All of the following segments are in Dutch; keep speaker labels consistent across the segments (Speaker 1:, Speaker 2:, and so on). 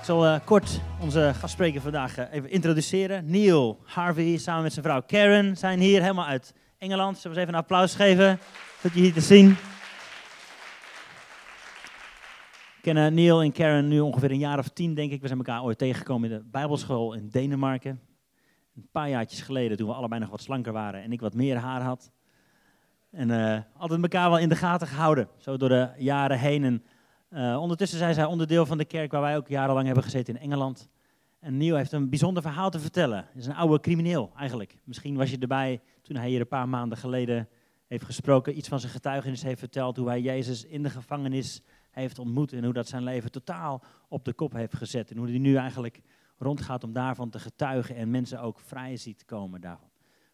Speaker 1: Ik zal eh, kort onze gastspreker vandaag eh, even introduceren. Neil Harvey samen met zijn vrouw Karen zijn hier helemaal uit Engeland. Zullen we eens even een applaus geven? Goed je hier te zien. We kennen Neil en Karen nu ongeveer een jaar of tien, denk ik. We zijn elkaar ooit tegengekomen in de Bijbelschool in Denemarken. Een paar jaartjes geleden, toen we allebei nog wat slanker waren en ik wat meer haar had. En eh, altijd elkaar wel in de gaten gehouden, zo door de jaren heen. En eh, ondertussen zijn zij onderdeel van de kerk waar wij ook jarenlang hebben gezeten in Engeland. En Neil heeft een bijzonder verhaal te vertellen. Hij is een oude crimineel eigenlijk. Misschien was je erbij toen hij hier een paar maanden geleden heeft gesproken, iets van zijn getuigenis heeft verteld, hoe hij Jezus in de gevangenis heeft ontmoet en hoe dat zijn leven totaal op de kop heeft gezet. En hoe hij nu eigenlijk rondgaat om daarvan te getuigen en mensen ook vrij ziet komen daarvan.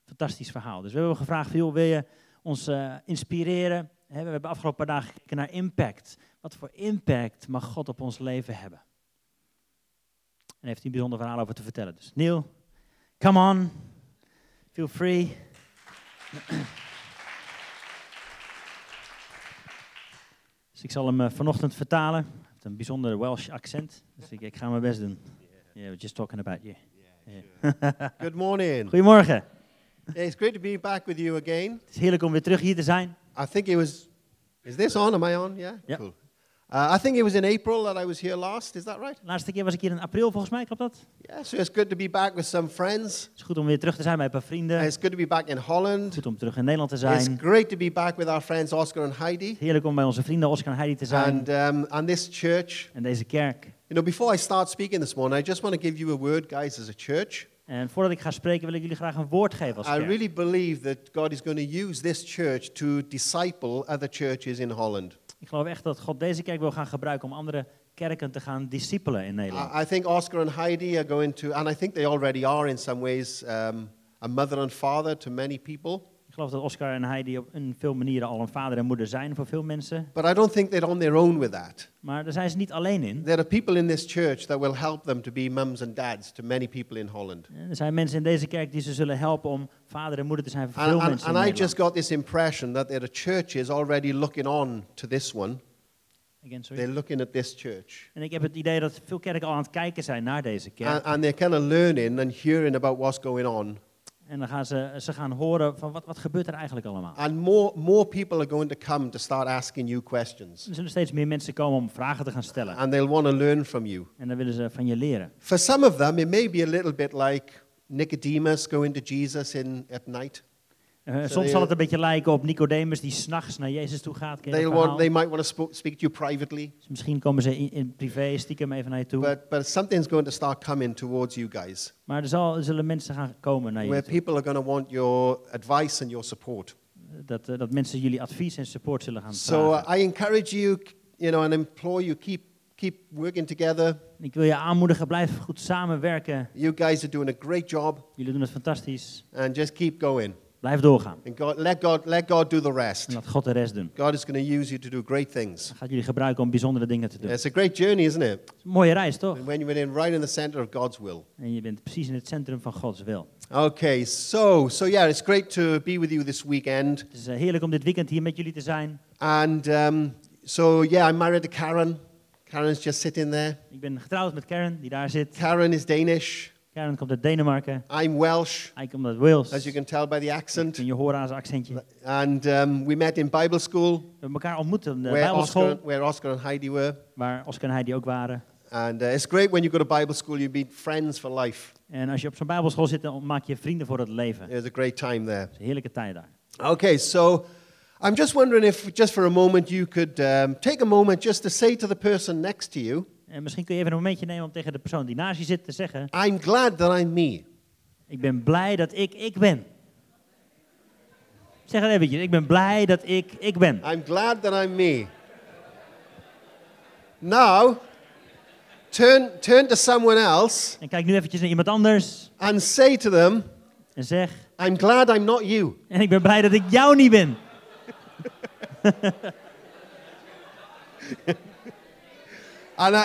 Speaker 1: Fantastisch verhaal. Dus we hebben gevraagd, joh, wil je ons eh, inspireren? Hè, We hebben afgelopen paar dagen gekeken naar impact. Wat voor impact mag God op ons leven hebben? En heeft hij een bijzonder verhaal over te vertellen. Dus Neil, come on, feel free. Dus ik zal hem eh, vanochtend vertalen. Hij heeft een bijzonder Welsh accent, dus ik, ik ga mijn best doen. Yeah, we're just talking about you.
Speaker 2: Good morning.
Speaker 1: Goedemorgen.
Speaker 2: It's great to be back with you again.
Speaker 1: Het is heerlijk om weer terug hier te zijn.
Speaker 2: I think it was. Is this on? Am I on? Yeah?
Speaker 1: Yep.
Speaker 2: Cool. Uh, I think it was in April that I was here last. Is that right?
Speaker 1: Laatste keer was ik hier in april, volgens mij, klopt dat?
Speaker 2: Yeah, so it's good to be back with some friends.
Speaker 1: Het is goed om weer terug te zijn bij een paar vrienden.
Speaker 2: It's good to be back in Holland.
Speaker 1: Goed om terug in Nederland te
Speaker 2: It's
Speaker 1: zijn.
Speaker 2: great to be back with our friends Oscar and Heidi
Speaker 1: Heerlijk om bij onze vrienden Oscar en Heidi te zijn.
Speaker 2: and, um, and this church.
Speaker 1: en deze kerk.
Speaker 2: You know, before I start speaking this morning, I just want to give you a word, guys, as a church.
Speaker 1: En voordat ik ga spreken wil ik jullie graag een woord geven als
Speaker 2: I
Speaker 1: kerk.
Speaker 2: really believe that God is going to use this church to disciple other churches in Holland.
Speaker 1: Ik geloof echt dat God deze kerk wil gaan gebruiken om andere kerken te gaan discipelen in Nederland.
Speaker 2: I I think Oscar and Heidi are going to, and I think they already are in some ways, um, a mother and father to many people.
Speaker 1: Ik geloof dat Oscar en Heidi op een veel manieren al een vader en moeder zijn voor veel mensen.
Speaker 2: But I don't think they're on their own with that.
Speaker 1: Maar daar zijn ze niet alleen in.
Speaker 2: There are people in this church that will help them to be mums and dads to many people in Holland.
Speaker 1: Er zijn mensen in deze kerk die ze zullen helpen om vader en moeder te zijn voor
Speaker 2: And,
Speaker 1: veel
Speaker 2: and,
Speaker 1: mensen in
Speaker 2: and I
Speaker 1: Nederland.
Speaker 2: just got this impression that there are churches already looking on to this one.
Speaker 1: Again, sorry.
Speaker 2: They're looking at this church.
Speaker 1: En ik heb het idee dat veel kerken al aan het kijken zijn naar deze kerk.
Speaker 2: And, and they're kind of learning and hearing about what's going on.
Speaker 1: En dan gaan ze, ze gaan horen van wat, wat gebeurt er eigenlijk allemaal.
Speaker 2: And more, more people are going to come to start asking you questions.
Speaker 1: Er zullen steeds meer mensen komen om vragen te gaan stellen.
Speaker 2: And they'll want to learn from you.
Speaker 1: En dan willen ze van je leren.
Speaker 2: For some of them, it may be a little bit like Nicodemus going to Jesus in, at night.
Speaker 1: Eh, soms
Speaker 2: they-
Speaker 1: zal het een beetje lijken op Nicodemus die s'nachts naar Jezus toe gaat. Ken je dat
Speaker 2: They'll
Speaker 1: verhaal?
Speaker 2: want, they might want to sp- speak to you privately,
Speaker 1: Dus misschien komen ze in, in privé stiekem even naar je toe.
Speaker 2: but, but something's going to start coming towards you guys
Speaker 1: maar er, zal, er zullen mensen gaan komen naar
Speaker 2: where
Speaker 1: je toe.
Speaker 2: people are going to want your advice and your support.
Speaker 1: Dat, eh, dat mensen jullie advies en support zullen gaan
Speaker 2: So uh,
Speaker 1: vragen.
Speaker 2: I encourage you, k- you know, and implore you keep, keep working together.
Speaker 1: Ik wil je aanmoedigen, blijf goed samenwerken.
Speaker 2: You guys are doing a great job,
Speaker 1: Jullie doen het fantastisch.
Speaker 2: and just keep going.
Speaker 1: Blijf doorgaan.
Speaker 2: And God, let, God, let God do the
Speaker 1: En
Speaker 2: rest.
Speaker 1: laat God de rest doen.
Speaker 2: God is going to use you to do great things.
Speaker 1: Hij gaat jullie gebruiken om bijzondere dingen te doen.
Speaker 2: It's a great journey, isn't it?
Speaker 1: Het is een mooie reis, toch?
Speaker 2: When you're in, right in the center of God's will.
Speaker 1: En je bent precies in het centrum van Gods wil.
Speaker 2: Okay, so so yeah, it's great to be with you this weekend.
Speaker 1: Het is eh, heerlijk om dit weekend hier met jullie te zijn.
Speaker 2: And um, so yeah, I'm married to Karen. Karen's just sitting there.
Speaker 1: Ik ben getrouwd met Karen, die daar zit.
Speaker 2: Karen is Danish.
Speaker 1: Karen komt uit Denemarken.
Speaker 2: I'm Welsh,
Speaker 1: Hij komt uit Wales.
Speaker 2: as you can tell by the accent.
Speaker 1: Kun je horen aan zijn accentje. We
Speaker 2: And um, we met in Bible school,
Speaker 1: hebben elkaar ontmoet in de
Speaker 2: where, Oscar,
Speaker 1: Bijbelschool,
Speaker 2: where Oscar and Heidi were.
Speaker 1: waar Oscar en Heidi ook waren.
Speaker 2: And uh, it's great when you go to Bible school, you meet friends for life.
Speaker 1: En als je op zo'n Bijbelschool zit, dan maak je vrienden voor het leven. Het
Speaker 2: It was a great time there.
Speaker 1: is een heerlijke tijd daar.
Speaker 2: Okay, so I'm just wondering if, just for a moment, you could um, take a moment just to say to the person next to you,
Speaker 1: En misschien kun je even een momentje nemen om tegen de persoon die naast je zit te zeggen:
Speaker 2: I'm glad that I'm me.
Speaker 1: Ik ben blij dat ik ik ben. Zeg het eventjes. Ik ben blij dat ik ik ben.
Speaker 2: I'm glad that I'm me. Now, turn, turn to someone else
Speaker 1: En kijk nu eventjes naar iemand anders
Speaker 2: and say to them,
Speaker 1: en zeg:
Speaker 2: I'm glad I'm not you.
Speaker 1: En ik ben blij dat ik jou niet ben.
Speaker 2: And I,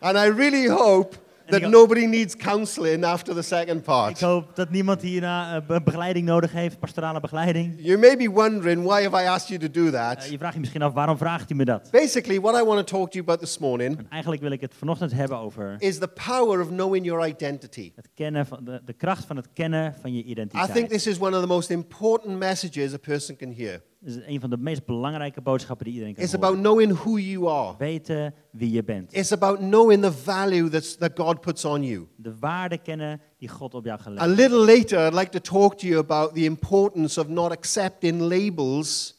Speaker 2: and I really hope that
Speaker 1: ik-
Speaker 2: nobody needs counseling after the second
Speaker 1: Ik
Speaker 2: part.
Speaker 1: hoop dat niemand hierna eh, be- begeleiding nodig heeft, pastorale begeleiding.
Speaker 2: You may be wondering, why have I asked you to do
Speaker 1: Eh,
Speaker 2: that?
Speaker 1: je vraagt je misschien af, waarom vraagt hij me dat?
Speaker 2: Basically, what I want to talk to you about this morning
Speaker 1: Eigenlijk wil ik het vanochtend hebben over
Speaker 2: is the power of knowing your identity.
Speaker 1: het kennen van de, de kracht van het kennen van je
Speaker 2: I think
Speaker 1: identiteit.
Speaker 2: this is one of the most important messages a person can hear.
Speaker 1: Dat is een van de meest belangrijke boodschappen die iedereen kan
Speaker 2: It's
Speaker 1: horen.
Speaker 2: about knowing who you are.
Speaker 1: Weten wie je bent.
Speaker 2: It's about knowing the value that's, that God puts on you.
Speaker 1: De waarde kennen die God op jou gelegd
Speaker 2: A
Speaker 1: heeft.
Speaker 2: little later, I'd like to talk to you about the importance of not accepting labels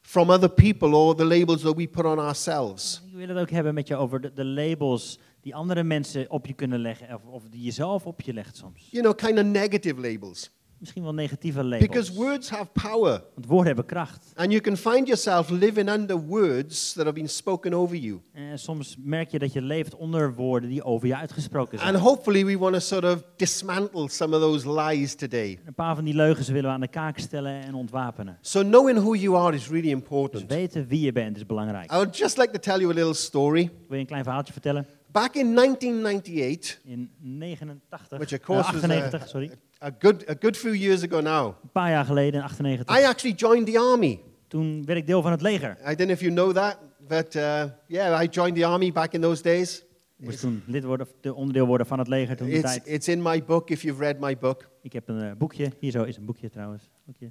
Speaker 2: from other people or the labels that we put on ourselves.
Speaker 1: Ik wil het ook hebben met je over de, de labels die andere mensen op je kunnen leggen. Of, of die jezelf op je legt soms.
Speaker 2: You know, kind of negative labels.
Speaker 1: Misschien wel negatieve
Speaker 2: Because
Speaker 1: labels.
Speaker 2: words have power,
Speaker 1: Want woorden hebben kracht.
Speaker 2: and you can find yourself living under words that have been spoken over you.
Speaker 1: En soms merk je dat je leeft onder woorden die over je uitgesproken zijn.
Speaker 2: And hopefully, we want to sort of dismantle some of those lies today.
Speaker 1: Een paar van die leugens willen we aan de kaak stellen en ontwapenen.
Speaker 2: So, knowing who you are is really
Speaker 1: Dus
Speaker 2: important.
Speaker 1: weten wie je bent is belangrijk.
Speaker 2: I would just like to tell you a little story.
Speaker 1: Ik wil je een klein verhaaltje vertellen.
Speaker 2: Back in 1998,
Speaker 1: In 89,
Speaker 2: Which
Speaker 1: eh,
Speaker 2: of course is, eh,
Speaker 1: 98, sorry,
Speaker 2: a good, a good few years ago now,
Speaker 1: een paar jaar geleden, in 98,
Speaker 2: I actually joined the army.
Speaker 1: toen werd ik deel van het leger.
Speaker 2: I don't know if you know that, but uh, yeah, I joined the army back in those days.
Speaker 1: Ik moest toen lid worden, of de onderdeel worden van het leger toen de
Speaker 2: It's,
Speaker 1: tijd.
Speaker 2: it's in my book if you've read my book.
Speaker 1: Ik heb een eh, boekje, hier zo is een boekje trouwens. Boekje.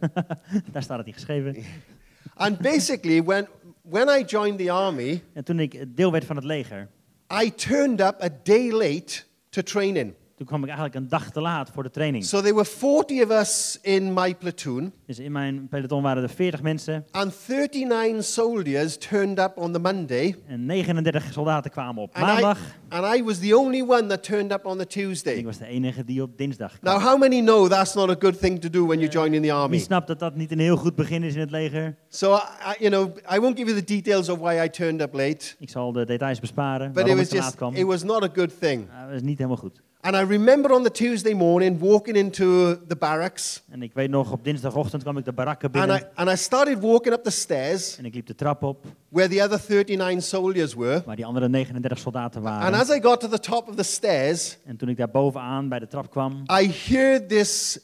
Speaker 1: Daar staat het in geschreven.
Speaker 2: And basically, when, when I joined the army,
Speaker 1: En toen ik eh, deel werd van het leger,
Speaker 2: I turned up a day late to training.
Speaker 1: toen kwam ik eigenlijk een dag te laat voor de training.
Speaker 2: So there were 40 of us in my platoon,
Speaker 1: Dus in mijn peloton waren er 40 mensen
Speaker 2: and 39 soldiers turned up on the Monday.
Speaker 1: en 39 soldaten kwamen op
Speaker 2: And I,
Speaker 1: maandag.
Speaker 2: and I was the only one that turned up on the
Speaker 1: Ik
Speaker 2: Tuesday.
Speaker 1: was de enige die op dinsdag kwam.
Speaker 2: Now, how many know that's not a good thing to do when you're joining
Speaker 1: Wie
Speaker 2: the army?
Speaker 1: snapt dat dat niet een heel goed begin is in het leger?
Speaker 2: So, I, I- you know, I won't give you the details of why I turned up late,
Speaker 1: Ik zal de details besparen,
Speaker 2: but it
Speaker 1: waarom ik
Speaker 2: was
Speaker 1: te laat
Speaker 2: just,
Speaker 1: kwam.
Speaker 2: it was not a good thing.
Speaker 1: Ah, dat is niet helemaal goed.
Speaker 2: And I remember on the Tuesday morning walking into the barracks,
Speaker 1: En ik weet nog, op dinsdagochtend kwam ik de barakken
Speaker 2: and
Speaker 1: binnen
Speaker 2: I, and I started walking up the stairs
Speaker 1: en ik liep de trap op
Speaker 2: where the other 39 soldiers were.
Speaker 1: waar die andere 39 soldaten
Speaker 2: And
Speaker 1: waren.
Speaker 2: as I got to the top of the stairs,
Speaker 1: En toen ik daar bovenaan bij de trap kwam,
Speaker 2: I heard this,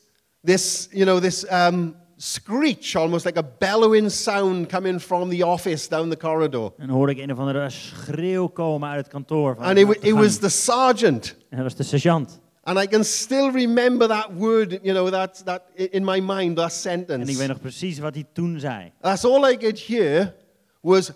Speaker 2: this, you know, this um, screech, almost like a bellowing sound coming from the office down the corridor.
Speaker 1: en hoorde ik een of andere schreeuw komen uit het kantoor. Van
Speaker 2: And
Speaker 1: de
Speaker 2: it, wa- it
Speaker 1: achtergang.
Speaker 2: was the sergeant.
Speaker 1: En dat was de sergeant.
Speaker 2: And I can still remember that word, you know, that, that i- in my mind,
Speaker 1: En ik
Speaker 2: that sentence.
Speaker 1: weet nog precies wat hij toen zei.
Speaker 2: That's all I could hear was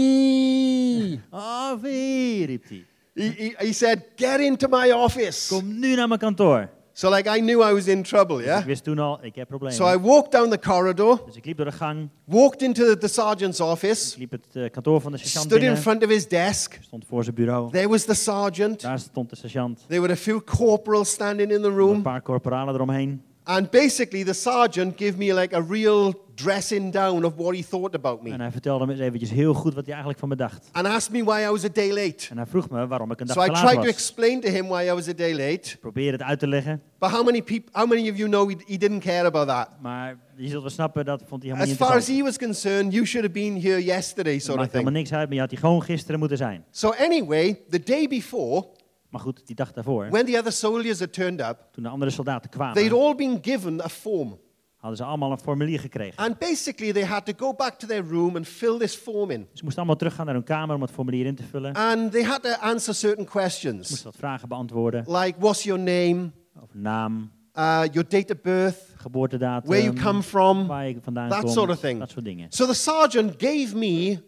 Speaker 2: Harvey.
Speaker 1: Harvey, riep hij.
Speaker 2: he, he, he said, Get into my office.
Speaker 1: Kom nu naar mijn kantoor.
Speaker 2: So, like, I knew I was in trouble,
Speaker 1: Ik
Speaker 2: yeah?
Speaker 1: wist toen al, ik heb problemen.
Speaker 2: So I walked down the corridor,
Speaker 1: Dus ik liep door de gang,
Speaker 2: walked into the sergeant's office,
Speaker 1: ik liep het eh, kantoor van de sergeant
Speaker 2: stood in
Speaker 1: binnen.
Speaker 2: front of his desk.
Speaker 1: stond voor zijn bureau.
Speaker 2: There was the sergeant.
Speaker 1: Daar stond de sergeant.
Speaker 2: There were a few corporals standing in the
Speaker 1: Een
Speaker 2: room.
Speaker 1: paar corporalen eromheen.
Speaker 2: And basically, the sergeant gave me like a real dressing down of what he thought about me
Speaker 1: En hij vertelde me eens eventjes heel goed wat hij eigenlijk van me dacht.
Speaker 2: and asked me why I was a day late.
Speaker 1: En hij vroeg me waarom ik een dag
Speaker 2: So
Speaker 1: te
Speaker 2: I
Speaker 1: laat
Speaker 2: tried to
Speaker 1: was.
Speaker 2: explain to him why I was a day late.
Speaker 1: Ik probeer het uit te leggen,
Speaker 2: But how many, peop- how many of you know he, he didn't care about that?
Speaker 1: maar je zult wel snappen, dat vond hij helemaal
Speaker 2: As
Speaker 1: niet
Speaker 2: far as
Speaker 1: interessant.
Speaker 2: he was concerned, you should have been here yesterday,
Speaker 1: Het
Speaker 2: sort of
Speaker 1: maakt
Speaker 2: thing.
Speaker 1: helemaal niks uit, maar je had die gewoon gisteren moeten zijn.
Speaker 2: So, anyway, the day before,
Speaker 1: Maar goed, die dag daarvoor,
Speaker 2: when the other soldiers had turned up,
Speaker 1: toen de andere soldaten
Speaker 2: they'd
Speaker 1: kwamen,
Speaker 2: all been given a form.
Speaker 1: hadden ze allemaal een formulier gekregen.
Speaker 2: And basically, they had to go back to their room and fill this form in.
Speaker 1: Ze moesten allemaal teruggaan naar hun kamer om het formulier in te vullen. Ze
Speaker 2: And they had to answer certain
Speaker 1: moesten
Speaker 2: questions
Speaker 1: wat vragen beantwoorden
Speaker 2: like what's your name,
Speaker 1: over naam,
Speaker 2: uh, your date of birth,
Speaker 1: geboortedatum,
Speaker 2: where you come from,
Speaker 1: waar je vandaan
Speaker 2: Um, that
Speaker 1: komt,
Speaker 2: sort of thing.
Speaker 1: dat soort dingen.
Speaker 2: So the sergeant gave me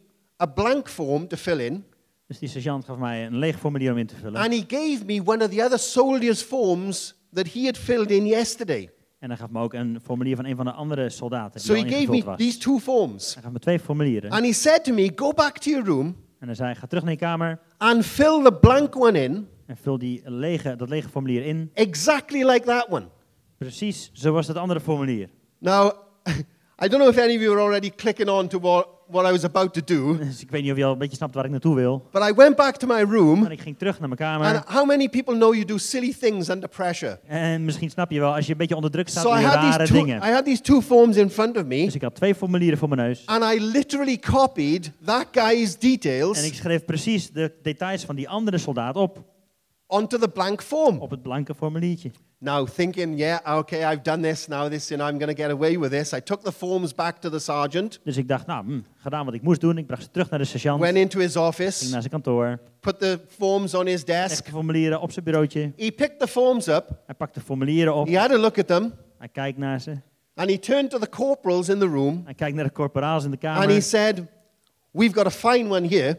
Speaker 2: a blank form to fill in,
Speaker 1: Dus die sergeant gaf mij een leeg formulier om in te vullen.
Speaker 2: and he gave me one of the other soldiers' forms that he had filled in yesterday.
Speaker 1: En hij gaf me ook een formulier van een van de andere soldaten die
Speaker 2: So
Speaker 1: al
Speaker 2: he gave me
Speaker 1: ingevuld was.
Speaker 2: these two forms.
Speaker 1: Hij gaf me twee formulieren.
Speaker 2: And he said to me, Go back to your room
Speaker 1: En hij zei, ga terug naar je kamer
Speaker 2: and fill the blank one in
Speaker 1: en vul die lege, dat lege formulier in.
Speaker 2: exactly like that one.
Speaker 1: Precies zoals dat andere formulier.
Speaker 2: Now, I don't know if any of you are already clicking on to what, what I was about to do,
Speaker 1: Dus ik weet niet of je al een beetje snapt waar ik naartoe wil.
Speaker 2: but I went back to my room.
Speaker 1: Maar ik ging terug naar mijn kamer.
Speaker 2: And how many people know you do silly things under pressure?
Speaker 1: En misschien snap je wel, als je een beetje onder druk staat,
Speaker 2: So
Speaker 1: doe
Speaker 2: I
Speaker 1: je
Speaker 2: had,
Speaker 1: rare
Speaker 2: these two,
Speaker 1: dingen.
Speaker 2: I had these two forms in front of me,
Speaker 1: Dus ik had twee formulieren voor mijn neus.
Speaker 2: and I literally copied that guy's
Speaker 1: En ik
Speaker 2: details
Speaker 1: schreef precies de details van die andere soldaat op.
Speaker 2: onto the blank form.
Speaker 1: op het blanke formuliertje.
Speaker 2: Now, thinking, yeah, okay, I've done this now, this, and I'm going to get away with this. I took the forms back to the sergeant,
Speaker 1: Dus ik dacht, nou, hm, gedaan wat ik moest doen. Ik bracht ze terug naar de sergeant,
Speaker 2: went into his
Speaker 1: ging
Speaker 2: office,
Speaker 1: naar zijn kantoor,
Speaker 2: put the forms on his desk.
Speaker 1: echte formulieren op zijn bureautje.
Speaker 2: He picked the forms up,
Speaker 1: Hij pakt de formulieren op,
Speaker 2: he had a look at them,
Speaker 1: hij kijkt naar ze.
Speaker 2: and he turned to the corporals in the room
Speaker 1: Hij kijkt naar de corporaals in de kamer.
Speaker 2: and he said, We've got a fine one here.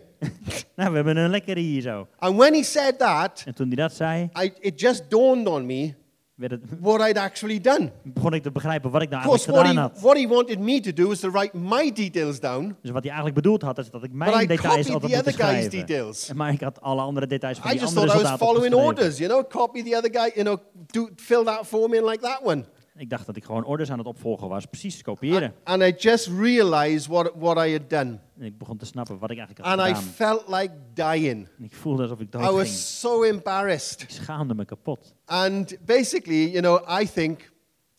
Speaker 1: Nou, we hebben een lekkere hier zo.
Speaker 2: And when he said that,
Speaker 1: En toen hij dat zei,
Speaker 2: I, it just dawned on me
Speaker 1: werd het,
Speaker 2: what I'd actually done.
Speaker 1: begon ik te begrijpen wat ik nou
Speaker 2: Of course,
Speaker 1: eigenlijk
Speaker 2: what
Speaker 1: gedaan
Speaker 2: he,
Speaker 1: had.
Speaker 2: what he wanted me to do was to write my details down,
Speaker 1: Dus wat hij eigenlijk bedoeld had, is dat ik
Speaker 2: but I
Speaker 1: mijn details
Speaker 2: copied the
Speaker 1: altijd
Speaker 2: other
Speaker 1: moet
Speaker 2: guy's
Speaker 1: schrijven.
Speaker 2: details.
Speaker 1: En Maar ik had alle andere details van
Speaker 2: I
Speaker 1: die
Speaker 2: just
Speaker 1: andere
Speaker 2: thought I was
Speaker 1: soldaten
Speaker 2: following
Speaker 1: opgeschreven.
Speaker 2: orders, you know, copy the other guy, you know, do, fill that form in like that one.
Speaker 1: Ik dacht dat ik gewoon orders aan het opvolgen was. Precies, kopiëren.
Speaker 2: And I just realized what, what I had done.
Speaker 1: En ik begon te snappen wat ik eigenlijk had
Speaker 2: And I
Speaker 1: gedaan.
Speaker 2: felt like dying.
Speaker 1: En ik voelde alsof ik
Speaker 2: I
Speaker 1: dood
Speaker 2: was
Speaker 1: ging.
Speaker 2: so embarrassed.
Speaker 1: Ik schaamde me kapot.
Speaker 2: And basically, you know, I think,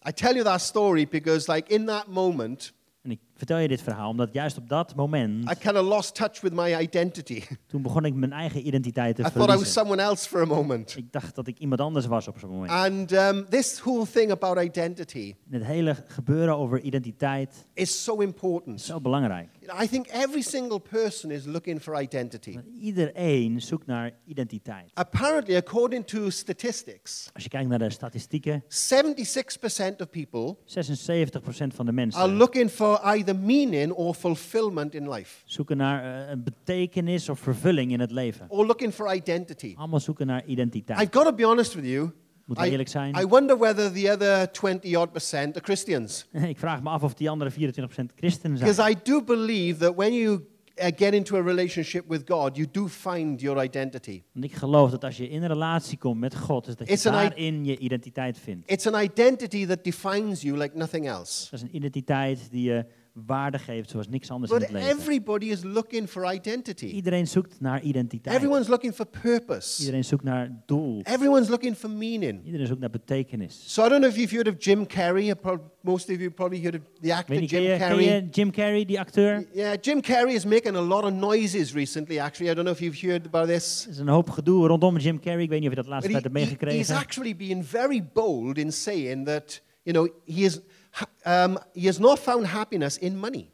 Speaker 2: I tell you that story because, like, in that moment,
Speaker 1: En ik vertel je dit verhaal omdat juist op dat
Speaker 2: I
Speaker 1: moment,
Speaker 2: kind of lost touch with my identity.
Speaker 1: toen begon ik mijn eigen identiteit te
Speaker 2: I thought I was
Speaker 1: verliezen.
Speaker 2: someone else for a moment.
Speaker 1: Ik dacht dat ik iemand anders was op zo'n moment.
Speaker 2: And um, this whole thing about identity
Speaker 1: En het hele gebeuren over identiteit
Speaker 2: is so
Speaker 1: is
Speaker 2: important.
Speaker 1: zo belangrijk.
Speaker 2: I think every single person is looking for identity.
Speaker 1: Want Iedereen zoekt naar identiteit.
Speaker 2: Apparently, according to statistics,
Speaker 1: Als je kijkt naar de statistieken,
Speaker 2: 76% of people
Speaker 1: 76% van de
Speaker 2: are
Speaker 1: mensen
Speaker 2: looking for either meaning or fulfillment in life,
Speaker 1: zoeken naar eh, een betekenis of vervulling in het leven.
Speaker 2: or looking for identity.
Speaker 1: Allemaal zoeken naar identiteit.
Speaker 2: I've got to be honest Oh, with you.
Speaker 1: Moet
Speaker 2: I-
Speaker 1: eerlijk zijn.
Speaker 2: I wonder whether the other 20 odd percent are Christians.
Speaker 1: Ik vraag me af of die andere 24% christenen
Speaker 2: Because
Speaker 1: zijn.
Speaker 2: I do believe that when you uh, get into a relationship with God, you do find your identity.
Speaker 1: Want ik geloof dat als je in een relatie komt met God, is dat
Speaker 2: It's
Speaker 1: je
Speaker 2: an i-
Speaker 1: daarin je identiteit vindt.
Speaker 2: It's an identity that defines you like nothing else.
Speaker 1: Dat is een identiteit die je waarde geeft, zoals niks anders in
Speaker 2: But
Speaker 1: het leven.
Speaker 2: everybody is looking for identity.
Speaker 1: Iedereen zoekt naar identiteit.
Speaker 2: Everyone's looking for purpose.
Speaker 1: Iedereen zoekt naar doel.
Speaker 2: Everyone's looking for meaning.
Speaker 1: Iedereen zoekt naar betekenis.
Speaker 2: So I don't know if you've heard of Jim Carrey. Prob- Most of you probably heard of the
Speaker 1: Weet
Speaker 2: actor
Speaker 1: niet, ken je,
Speaker 2: Jim
Speaker 1: ken
Speaker 2: Carrey.
Speaker 1: je Jim Carrey, die acteur? Er
Speaker 2: Yeah, Jim Carrey is making a lot of noises recently, actually. I don't know if you've heard about this.
Speaker 1: is een hoop gedoe rondom Jim Carrey. Ik weet niet of je dat de laatste
Speaker 2: But
Speaker 1: tijd hebt
Speaker 2: he- he- he's
Speaker 1: meegekregen.
Speaker 2: actually being very bold in saying that, you know, he, is, ha- um, he has not found happiness in money.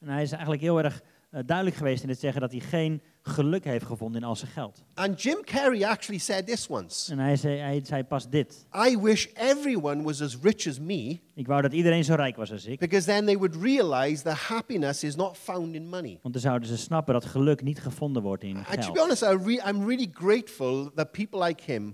Speaker 1: En hij is eigenlijk heel erg eh, duidelijk geweest in het zeggen dat hij geen geluk heeft gevonden in al zijn geld.
Speaker 2: And Jim Carrey actually said this once
Speaker 1: En hij zei, hij zei pas dit.
Speaker 2: I wish everyone was as rich as me
Speaker 1: Ik wou dat iedereen zo rijk was als ik.
Speaker 2: because then they would realize that happiness is not found in money.
Speaker 1: Want dan zouden ze snappen dat geluk niet gevonden wordt in
Speaker 2: And to be
Speaker 1: geld.
Speaker 2: honest, I re- I'm really grateful that people like him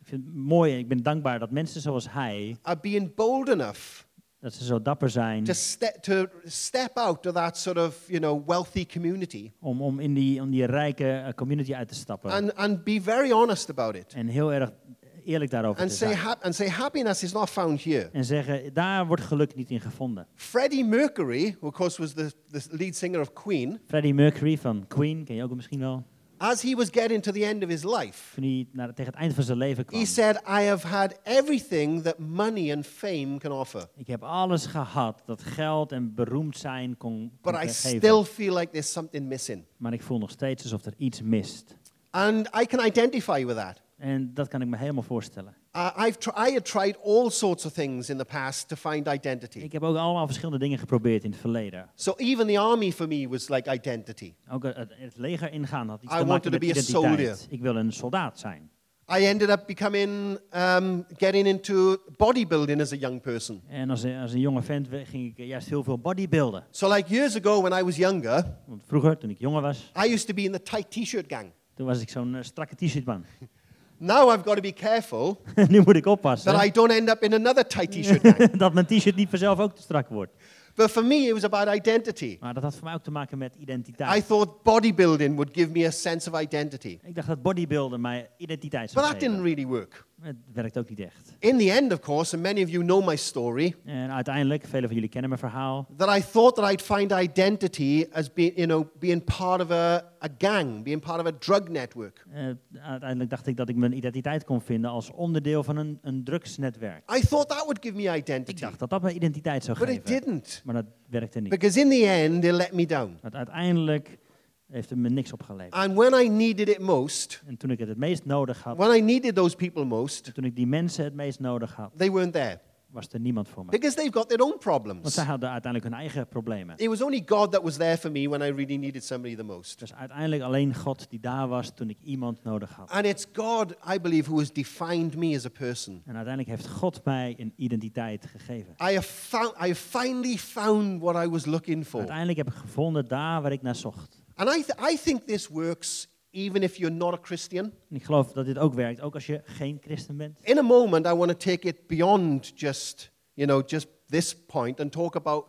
Speaker 1: Ik vind het mooi en ik ben dankbaar dat mensen zoals hij,
Speaker 2: are being bold enough
Speaker 1: dat ze zo dapper zijn
Speaker 2: to, ste- to step out of that sort of, you know, wealthy community
Speaker 1: om, om in die, om die rijke eh, community uit te stappen.
Speaker 2: and, and be very honest about it.
Speaker 1: En heel erg eerlijk daarover
Speaker 2: and
Speaker 1: te
Speaker 2: say,
Speaker 1: zijn.
Speaker 2: hap and say happiness is not found here.
Speaker 1: En zeggen, daar wordt geluk niet in gevonden.
Speaker 2: Freddie Mercury, who of course was the, the lead singer of Queen,
Speaker 1: Freddie Mercury van Queen, ken je ook misschien wel.
Speaker 2: as he was getting to the end of his life,
Speaker 1: Toen hij naar, tegen het eind van zijn leven kwam.
Speaker 2: he said, I have had everything that money and fame can offer,
Speaker 1: Ik heb alles gehad dat geld en beroemd zijn kon, kon
Speaker 2: but I
Speaker 1: geven.
Speaker 2: still feel like there's something missing.
Speaker 1: Maar ik voel nog steeds alsof er iets mist.
Speaker 2: And I can identify with that.
Speaker 1: En dat kan ik me helemaal voorstellen.
Speaker 2: Uh, I've tr- I had tried all sorts of things in the past to find identity.
Speaker 1: Ik heb ook allemaal verschillende dingen geprobeerd in het verleden.
Speaker 2: So even the army for me was like identity.
Speaker 1: Ook het, het leger ingaan had iets
Speaker 2: I
Speaker 1: te maken
Speaker 2: wanted to
Speaker 1: met
Speaker 2: be a
Speaker 1: identiteit.
Speaker 2: soldier.
Speaker 1: Ik wil een soldaat zijn.
Speaker 2: I ended up becoming, um, getting into bodybuilding as a young person.
Speaker 1: En als, als een jonge vent we- ging ik juist heel veel bodybuilden.
Speaker 2: So, like years ago when I was younger,
Speaker 1: Want vroeger, toen ik jonger was,
Speaker 2: I used to be in the tight t shirt gang.
Speaker 1: toen was ik zo'n eh, strakke t-shirt man.
Speaker 2: Now I've got to be careful
Speaker 1: nu moet ik
Speaker 2: that
Speaker 1: oppassen
Speaker 2: I don't end up in another tight t shirt gang.
Speaker 1: dat mijn t-shirt niet vanzelf ook te strak wordt.
Speaker 2: But for me, it was about identity.
Speaker 1: Maar dat had voor mij ook te maken met identiteit.
Speaker 2: I thought bodybuilding would give me a sense of identity.
Speaker 1: Ik dacht dat bodybuilden mij identiteit
Speaker 2: But
Speaker 1: zou
Speaker 2: that didn't
Speaker 1: geven.
Speaker 2: really work.
Speaker 1: Maar Het werkt ook niet echt.
Speaker 2: In the end, of course, and many of you know my story,
Speaker 1: En uiteindelijk, velen van jullie kennen mijn verhaal.
Speaker 2: that I thought that I'd find identity as being, you know, being part of a, a gang, being part of a drug network.
Speaker 1: Eh, uiteindelijk dacht ik dat ik mijn identiteit kon vinden als onderdeel van een, een drugsnetwerk.
Speaker 2: I thought that would give me
Speaker 1: Ik
Speaker 2: identity.
Speaker 1: dacht dat dat mijn identiteit zou
Speaker 2: But it
Speaker 1: geven.
Speaker 2: didn't.
Speaker 1: Maar dat werkte niet.
Speaker 2: Because in the end, they let me down.
Speaker 1: Want uiteindelijk heeft het me niks opgeleverd.
Speaker 2: And when I needed it most,
Speaker 1: En toen ik het het meest nodig had,
Speaker 2: when I needed those people most,
Speaker 1: toen ik die mensen het meest nodig had,
Speaker 2: they weren't there
Speaker 1: was er niemand voor me.
Speaker 2: because they've got their own
Speaker 1: Want
Speaker 2: problems.
Speaker 1: zij hadden uiteindelijk hun eigen problemen.
Speaker 2: It was only God that was there for me when I really needed somebody the most.
Speaker 1: Dus uiteindelijk alleen God die daar was toen ik iemand nodig had.
Speaker 2: And it's God, I believe, who has defined me as a person.
Speaker 1: En uiteindelijk heeft God mij een identiteit gegeven.
Speaker 2: I have found, I have finally found what I was looking for.
Speaker 1: Uiteindelijk heb ik gevonden daar waar ik naar zocht.
Speaker 2: And I, th- I think this works even if you're not a Christian.
Speaker 1: En ik geloof dat dit ook werkt, ook als je geen christen bent.
Speaker 2: In a moment, I want to take it beyond just, you know, just this point and talk about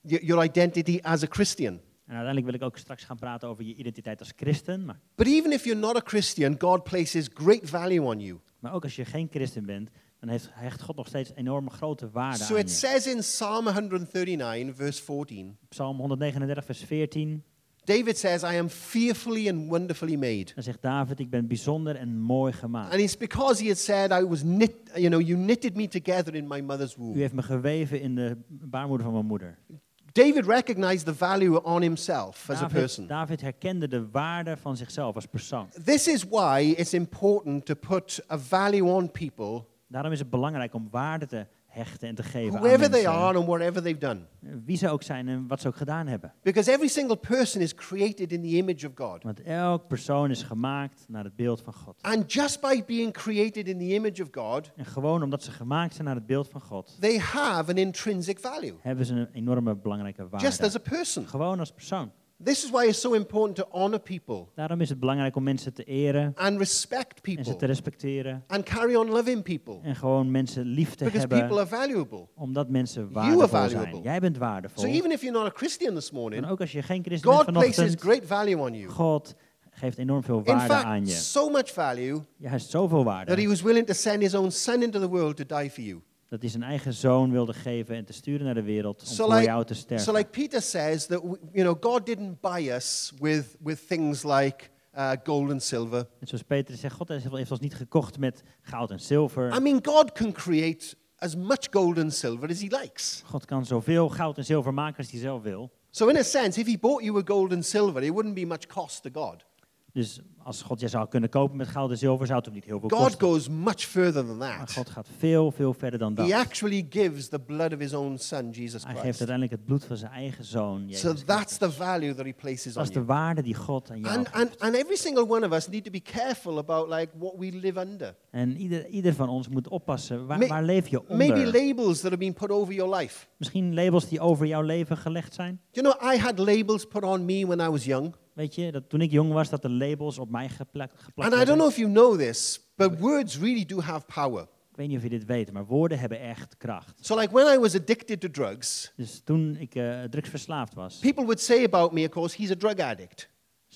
Speaker 2: y- your identity as a Christian.
Speaker 1: En uiteindelijk wil ik ook straks gaan praten over je identiteit als christen. Maar,
Speaker 2: But even if you're not a Christian, God places great value on you.
Speaker 1: maar ook als je geen christen bent, dan heeft, hecht God nog steeds enorm grote waarde
Speaker 2: So
Speaker 1: aan
Speaker 2: it
Speaker 1: je.
Speaker 2: says in Psalm 139, verse 14,
Speaker 1: Psalm 139, vers 14.
Speaker 2: David says, I am fearfully and wonderfully made.
Speaker 1: Dan zegt David, ik ben bijzonder en mooi gemaakt.
Speaker 2: And it's because he had said, I was knit, you know, you knitted me together in my mother's
Speaker 1: U
Speaker 2: womb.
Speaker 1: heeft me geweven in de baarmoeder van mijn moeder.
Speaker 2: David recognized the value on himself as a
Speaker 1: David,
Speaker 2: person.
Speaker 1: David herkende de waarde van zichzelf als persoon.
Speaker 2: This is why it's important to put a value on people,
Speaker 1: Daarom is het belangrijk om waarde te hechten en te geven aan
Speaker 2: whoever they
Speaker 1: mensen.
Speaker 2: are and whatever they've done.
Speaker 1: Wie ze ook zijn en wat ze ook gedaan hebben.
Speaker 2: Because every single person is created in the image of God.
Speaker 1: Want elk persoon is gemaakt naar het beeld van God.
Speaker 2: And just by being created in the image of God,
Speaker 1: En gewoon omdat ze gemaakt zijn naar het beeld van God,
Speaker 2: they have an intrinsic value,
Speaker 1: hebben ze een enorme belangrijke
Speaker 2: just as
Speaker 1: waarde.
Speaker 2: a person.
Speaker 1: Gewoon als persoon.
Speaker 2: This is why it's so important to honor people
Speaker 1: Daarom is het belangrijk om mensen te eren
Speaker 2: and respect
Speaker 1: en ze
Speaker 2: people
Speaker 1: te respecteren.
Speaker 2: and carry on loving people
Speaker 1: En gewoon mensen lief te
Speaker 2: because people
Speaker 1: hebben,
Speaker 2: are valuable.
Speaker 1: omdat mensen
Speaker 2: are
Speaker 1: waardevol
Speaker 2: valuable.
Speaker 1: zijn. Jij bent waardevol.
Speaker 2: So even if you're not a Christian this
Speaker 1: En
Speaker 2: morning,
Speaker 1: ook als je geen christen bent
Speaker 2: God places
Speaker 1: vanochtend,
Speaker 2: great value on you.
Speaker 1: God geeft enorm veel
Speaker 2: In
Speaker 1: waarde aan
Speaker 2: fact,
Speaker 1: je.
Speaker 2: so much value
Speaker 1: Ja, hij heeft zoveel
Speaker 2: that he
Speaker 1: waarde.
Speaker 2: was willing to send his own son into the world to die for you.
Speaker 1: Dat hij zijn eigen zoon wilde geven en te sturen naar de wereld om
Speaker 2: So
Speaker 1: voor
Speaker 2: like-
Speaker 1: jou te sterven.
Speaker 2: So, like Peter says, that w- you know, God didn't buy us with with things like uh, gold and silver.
Speaker 1: Net zoals Peter zegt, God heeft ons niet gekocht met goud en zilver.
Speaker 2: I mean, God can create as much gold and silver as He likes.
Speaker 1: God kan zoveel goud en zilver maken als hij zelf wil.
Speaker 2: So, in a sense, if He bought you with gold and silver, it wouldn't be much cost to God.
Speaker 1: Dus als God je zou kunnen kopen met goud en zilver, zou het hem niet heel veel
Speaker 2: God
Speaker 1: kosten.
Speaker 2: goes much further than
Speaker 1: Maar
Speaker 2: that.
Speaker 1: God gaat veel, veel verder dan dat.
Speaker 2: He
Speaker 1: Hij
Speaker 2: actually gives the blood of His own Son, Jesus
Speaker 1: geeft
Speaker 2: Christ.
Speaker 1: uiteindelijk het bloed van zijn eigen zoon. Jezus
Speaker 2: So that's
Speaker 1: Christus.
Speaker 2: the value that He places
Speaker 1: dat
Speaker 2: on
Speaker 1: is de
Speaker 2: you.
Speaker 1: waarde die God aan jou
Speaker 2: And,
Speaker 1: geeft.
Speaker 2: and, and every single one of us need to be careful about like what we live under.
Speaker 1: En ieder, ieder van ons moet oppassen. Waar,
Speaker 2: May-
Speaker 1: waar leef je onder?
Speaker 2: Maybe labels that have been put over your life.
Speaker 1: Misschien labels die over jouw leven gelegd zijn.
Speaker 2: Do you know, I had labels put on me when I was young.
Speaker 1: Weet je, dat toen ik jong was, dat de labels op mij geplakt, geplakt
Speaker 2: And I don't
Speaker 1: werden.
Speaker 2: know if you know this, but words really do have power.
Speaker 1: Ik weet niet of je dit weet, maar woorden hebben echt kracht.
Speaker 2: So, like when I was addicted to drugs,
Speaker 1: Dus toen ik eh, drugsverslaafd was,
Speaker 2: people would say about me, of course, he's a drug addict.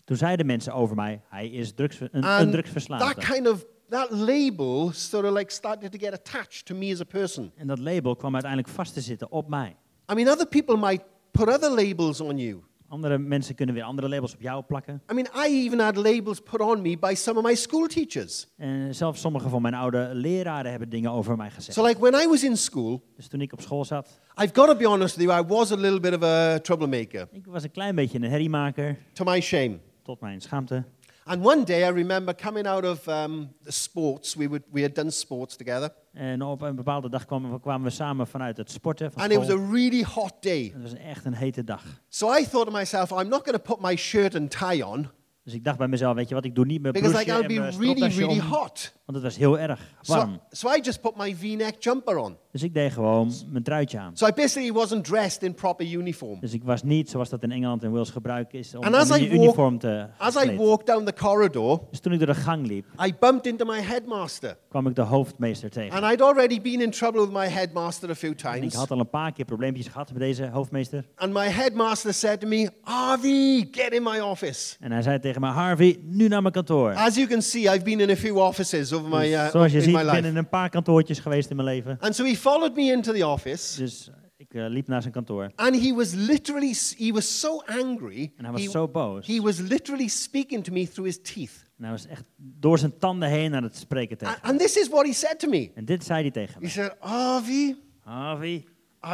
Speaker 1: toen zeiden mensen over mij, hij is drugs, een, een
Speaker 2: And that
Speaker 1: drugsverslaafde.
Speaker 2: kind of that label sort of like started to get attached to me as a person.
Speaker 1: En dat label kwam uiteindelijk vast te zitten op mij.
Speaker 2: I mean, other people might put other labels on you.
Speaker 1: Andere mensen kunnen weer andere labels op jou plakken.
Speaker 2: I mean, I even had labels put on me by some of my school teachers.
Speaker 1: En zelfs sommige van mijn oude leraren hebben dingen over mij gezegd.
Speaker 2: So, like when I was in school,
Speaker 1: Dus toen ik op school zat,
Speaker 2: I've got to be honest with you, I was a little bit of a troublemaker,
Speaker 1: ik was een klein beetje een herriemaker,
Speaker 2: to my shame.
Speaker 1: tot mijn schaamte.
Speaker 2: And one day I remember coming out of um, the sports, we, would, we had done sports together,
Speaker 1: En op een bepaalde dag kwamen we, kwamen we samen vanuit het sporten van
Speaker 2: and it was a
Speaker 1: school.
Speaker 2: really hot day.
Speaker 1: Het was echt een hete dag.
Speaker 2: So I thought to myself, I'm not going to put my shirt and tie on
Speaker 1: Dus ik dacht bij mezelf, weet je wat, ik doe niet mijn
Speaker 2: because
Speaker 1: bloesje
Speaker 2: like I'll
Speaker 1: en
Speaker 2: be
Speaker 1: mijn
Speaker 2: really,
Speaker 1: stropdasje
Speaker 2: really
Speaker 1: om,
Speaker 2: hot.
Speaker 1: want het was heel erg warm.
Speaker 2: So, so I just put my V-neck jumper on.
Speaker 1: Dus ik deed gewoon mijn truitje aan.
Speaker 2: So I basically wasn't dressed in proper uniform.
Speaker 1: Dus ik was niet, zoals dat in Engeland en Wales gebruik is, om,
Speaker 2: And
Speaker 1: om
Speaker 2: as
Speaker 1: in
Speaker 2: I
Speaker 1: je
Speaker 2: walk-
Speaker 1: uniform te
Speaker 2: As I
Speaker 1: gekleed.
Speaker 2: walked down the corridor,
Speaker 1: Dus toen ik door de gang liep,
Speaker 2: I bumped into my headmaster,
Speaker 1: kwam ik de hoofdmeester tegen.
Speaker 2: and I'd already been in trouble with my headmaster a few
Speaker 1: En ik
Speaker 2: times.
Speaker 1: had al een paar keer probleempjes gehad met deze hoofdmeester.
Speaker 2: And my headmaster said to me, Avi, get in my office.
Speaker 1: En hij zei tegen me, Harvey, nu naar mijn kantoor.
Speaker 2: As you can see, I've been in a few offices over my,
Speaker 1: Dus
Speaker 2: uh,
Speaker 1: zoals je
Speaker 2: Ah, in
Speaker 1: ziet,
Speaker 2: my
Speaker 1: ik ben
Speaker 2: life.
Speaker 1: in een paar kantoortjes geweest in mijn leven.
Speaker 2: And so he followed me into the office,
Speaker 1: Dus ik eh, liep naar zijn kantoor.
Speaker 2: and he was literally, s- he was so angry,
Speaker 1: En hij was
Speaker 2: he,
Speaker 1: zo boos.
Speaker 2: he was literally speaking to me through his teeth.
Speaker 1: En hij was echt door zijn tanden heen aan het spreken tegen
Speaker 2: A-
Speaker 1: me.
Speaker 2: And this is what he said to me.
Speaker 1: En dit zei hij tegen
Speaker 2: He
Speaker 1: me.
Speaker 2: said, Avi,
Speaker 1: Harvey,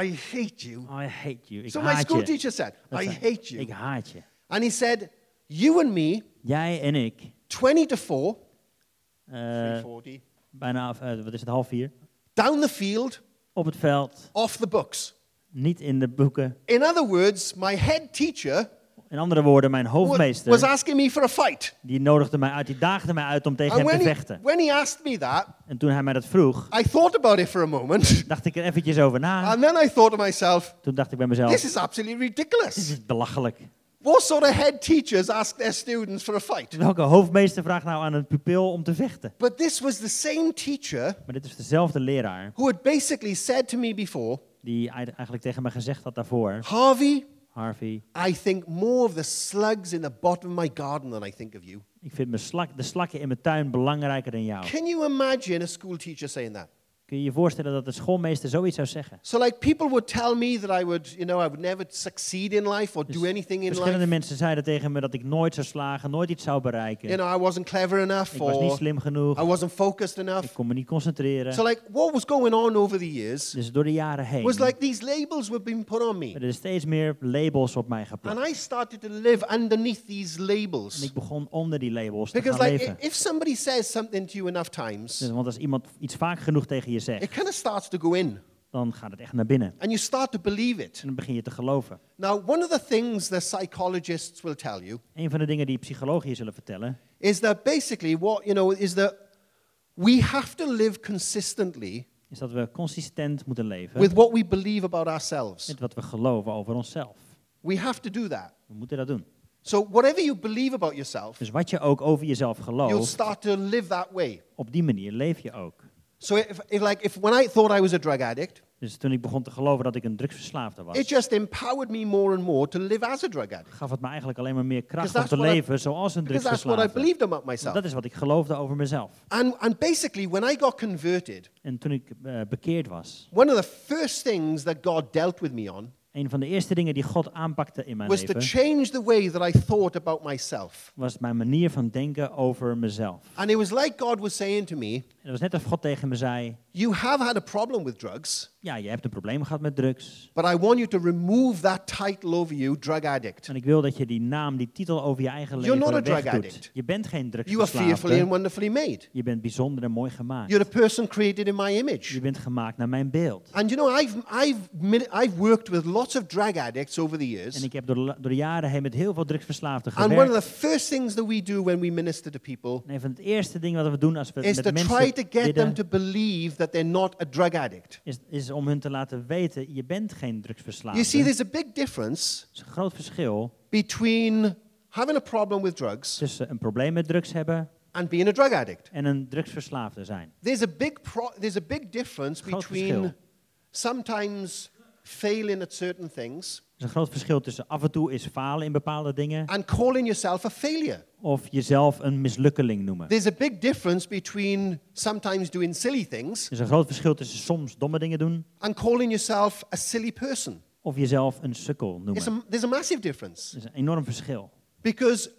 Speaker 2: I hate you.
Speaker 1: I hate you. Ik
Speaker 2: So my
Speaker 1: haat
Speaker 2: school
Speaker 1: je.
Speaker 2: teacher said,
Speaker 1: Dat
Speaker 2: I
Speaker 1: zei-
Speaker 2: hate
Speaker 1: Ik
Speaker 2: you.
Speaker 1: haat je.
Speaker 2: And he said, You and me,
Speaker 1: Jij en ik,
Speaker 2: 20 to 4,
Speaker 1: eh, bijna, eh, wat is het, half vier,
Speaker 2: down the field,
Speaker 1: op het veld,
Speaker 2: off the books.
Speaker 1: niet in de boeken.
Speaker 2: In other words, my head teacher
Speaker 1: In andere woorden, mijn
Speaker 2: wa- was
Speaker 1: hoofdmeester,
Speaker 2: asking me for a fight.
Speaker 1: die nodigde mij uit, die daagde mij uit om tegen
Speaker 2: And
Speaker 1: hem
Speaker 2: when
Speaker 1: te
Speaker 2: he,
Speaker 1: vechten.
Speaker 2: when he asked me that,
Speaker 1: En toen hij mij dat vroeg,
Speaker 2: I thought about it for a moment.
Speaker 1: dacht ik er eventjes over na.
Speaker 2: And then I thought to myself,
Speaker 1: Toen dacht ik bij mezelf,
Speaker 2: this
Speaker 1: dit
Speaker 2: is absolutely
Speaker 1: is
Speaker 2: ridiculous.
Speaker 1: belachelijk.
Speaker 2: What sort of head teachers ask their students for a fight?
Speaker 1: Welke hoofdmeester vraagt nou aan een pupil om te vechten?
Speaker 2: But this was the same teacher
Speaker 1: Maar dit is dezelfde leraar
Speaker 2: who had basically said to me before,
Speaker 1: die eid- eigenlijk tegen me gezegd had daarvoor,
Speaker 2: Harvey,
Speaker 1: Harvey,
Speaker 2: I think more of the slugs in the bottom of my garden than I think of you.
Speaker 1: ik vind mijn slak, de slakken in mijn tuin belangrijker dan jou.
Speaker 2: Can you imagine a school teacher saying that?
Speaker 1: Kun je je voorstellen dat de schoolmeester zoiets zou zeggen?
Speaker 2: So, like, people would tell me that I would, you know, I would never succeed in life or do anything in
Speaker 1: Verschillende
Speaker 2: life.
Speaker 1: mensen zeiden tegen me dat ik nooit zou slagen, nooit iets zou bereiken.
Speaker 2: You know, I wasn't clever enough
Speaker 1: ik was niet
Speaker 2: or
Speaker 1: slim
Speaker 2: I
Speaker 1: genoeg,
Speaker 2: wasn't focused
Speaker 1: ik
Speaker 2: enough.
Speaker 1: kon me niet concentreren.
Speaker 2: So, like, what was going on over the years
Speaker 1: dus door de jaren heen
Speaker 2: was like these labels were being put on me.
Speaker 1: werden er steeds meer labels op mij
Speaker 2: And
Speaker 1: geplakt.
Speaker 2: I started to live underneath these
Speaker 1: En ik
Speaker 2: labels.
Speaker 1: begon onder die labels te
Speaker 2: Because,
Speaker 1: gaan
Speaker 2: like,
Speaker 1: leven.
Speaker 2: i- if somebody says something to you enough
Speaker 1: Dus,
Speaker 2: times,
Speaker 1: want als iemand iets vaak genoeg tegen je
Speaker 2: it
Speaker 1: zegt,
Speaker 2: kind of starts to go in
Speaker 1: dan gaat het echt naar binnen.
Speaker 2: and you start to believe it.
Speaker 1: En dan begin je te geloven.
Speaker 2: Now, one of the things that psychologists will tell you
Speaker 1: Een van de dingen die psychologen je zullen vertellen,
Speaker 2: is that basically what, you know, is that we have to live consistently
Speaker 1: is dat we consistent moeten leven
Speaker 2: with what we believe about ourselves.
Speaker 1: met wat we geloven over onszelf.
Speaker 2: We have to do that.
Speaker 1: We moeten dat doen.
Speaker 2: So, whatever you believe about yourself,
Speaker 1: Dus wat je ook over jezelf
Speaker 2: you'll
Speaker 1: gelooft,
Speaker 2: start to live that way.
Speaker 1: op die manier leef je ook.
Speaker 2: So, if, if like, if when I thought I was a drug addict,
Speaker 1: Dus toen ik begon te geloven dat ik een drugsverslaafde
Speaker 2: it
Speaker 1: was,
Speaker 2: just empowered me more and more to live as a drug addict.
Speaker 1: gaf het me eigenlijk alleen maar meer kracht om
Speaker 2: Because
Speaker 1: te
Speaker 2: that's what I-
Speaker 1: leven zoals een
Speaker 2: Because that's what I
Speaker 1: drugsverslaafde.
Speaker 2: believed about
Speaker 1: Want
Speaker 2: myself.
Speaker 1: Dat is wat ik geloofde over mezelf.
Speaker 2: And, and basically, when I got converted,
Speaker 1: En toen ik eh, bekeerd was,
Speaker 2: one of the first things that God dealt with me on
Speaker 1: een van de eerste dingen die God aanpakte in mijn
Speaker 2: was to
Speaker 1: leven,
Speaker 2: change the way that I thought about myself.
Speaker 1: was mijn manier van denken over mezelf.
Speaker 2: And it was like God was saying to me,
Speaker 1: En het was net alsof God tegen me zei,
Speaker 2: You have had a problem with drugs,
Speaker 1: ja, je hebt een probleem gehad met drugs.
Speaker 2: but I want you to remove that title over you, drug addict.
Speaker 1: En ik wil dat je die naam, die titel over je eigen
Speaker 2: You're
Speaker 1: leven
Speaker 2: not a drug
Speaker 1: wegdoet.
Speaker 2: addict.
Speaker 1: Je bent geen
Speaker 2: You are fearfully and
Speaker 1: drugsverslaafde.
Speaker 2: wonderfully made.
Speaker 1: Je bent bijzonder en mooi gemaakt.
Speaker 2: You're a person created in my
Speaker 1: Je
Speaker 2: image.
Speaker 1: bent gemaakt naar mijn beeld.
Speaker 2: And you know, I've, I've, mil- I've worked with lots of drug addicts over the
Speaker 1: En
Speaker 2: years.
Speaker 1: ik heb door, la- door de jaren heen met heel veel drugsverslaafden
Speaker 2: And one of
Speaker 1: gewerkt.
Speaker 2: the first things that we do when we minister to people
Speaker 1: En een van het eerste ding wat we doen als we
Speaker 2: is
Speaker 1: met
Speaker 2: to try
Speaker 1: mensen
Speaker 2: to get them
Speaker 1: bidden,
Speaker 2: to believe that they're not a drug addict.
Speaker 1: is, is om hun te laten weten, je bent geen
Speaker 2: You see,
Speaker 1: drugsverslaafde.
Speaker 2: there's a big difference
Speaker 1: is een groot verschil
Speaker 2: between having a problem with drugs
Speaker 1: tussen een probleem met drugs hebben
Speaker 2: and being a drug addict.
Speaker 1: en een drugsverslaafde zijn.
Speaker 2: There's a big, pro- there's a big difference
Speaker 1: Groot
Speaker 2: between
Speaker 1: verschil.
Speaker 2: sometimes failing at certain things
Speaker 1: Er is een groot verschil tussen af en toe is falen in bepaalde dingen
Speaker 2: and calling yourself a failure.
Speaker 1: of jezelf een mislukkeling noemen.
Speaker 2: There's a big difference between sometimes doing silly things
Speaker 1: Er is een groot verschil tussen soms domme dingen doen
Speaker 2: and calling yourself a silly person.
Speaker 1: of jezelf een sukkel noemen.
Speaker 2: It's a, there's a massive difference
Speaker 1: Er is een enorm verschil.
Speaker 2: because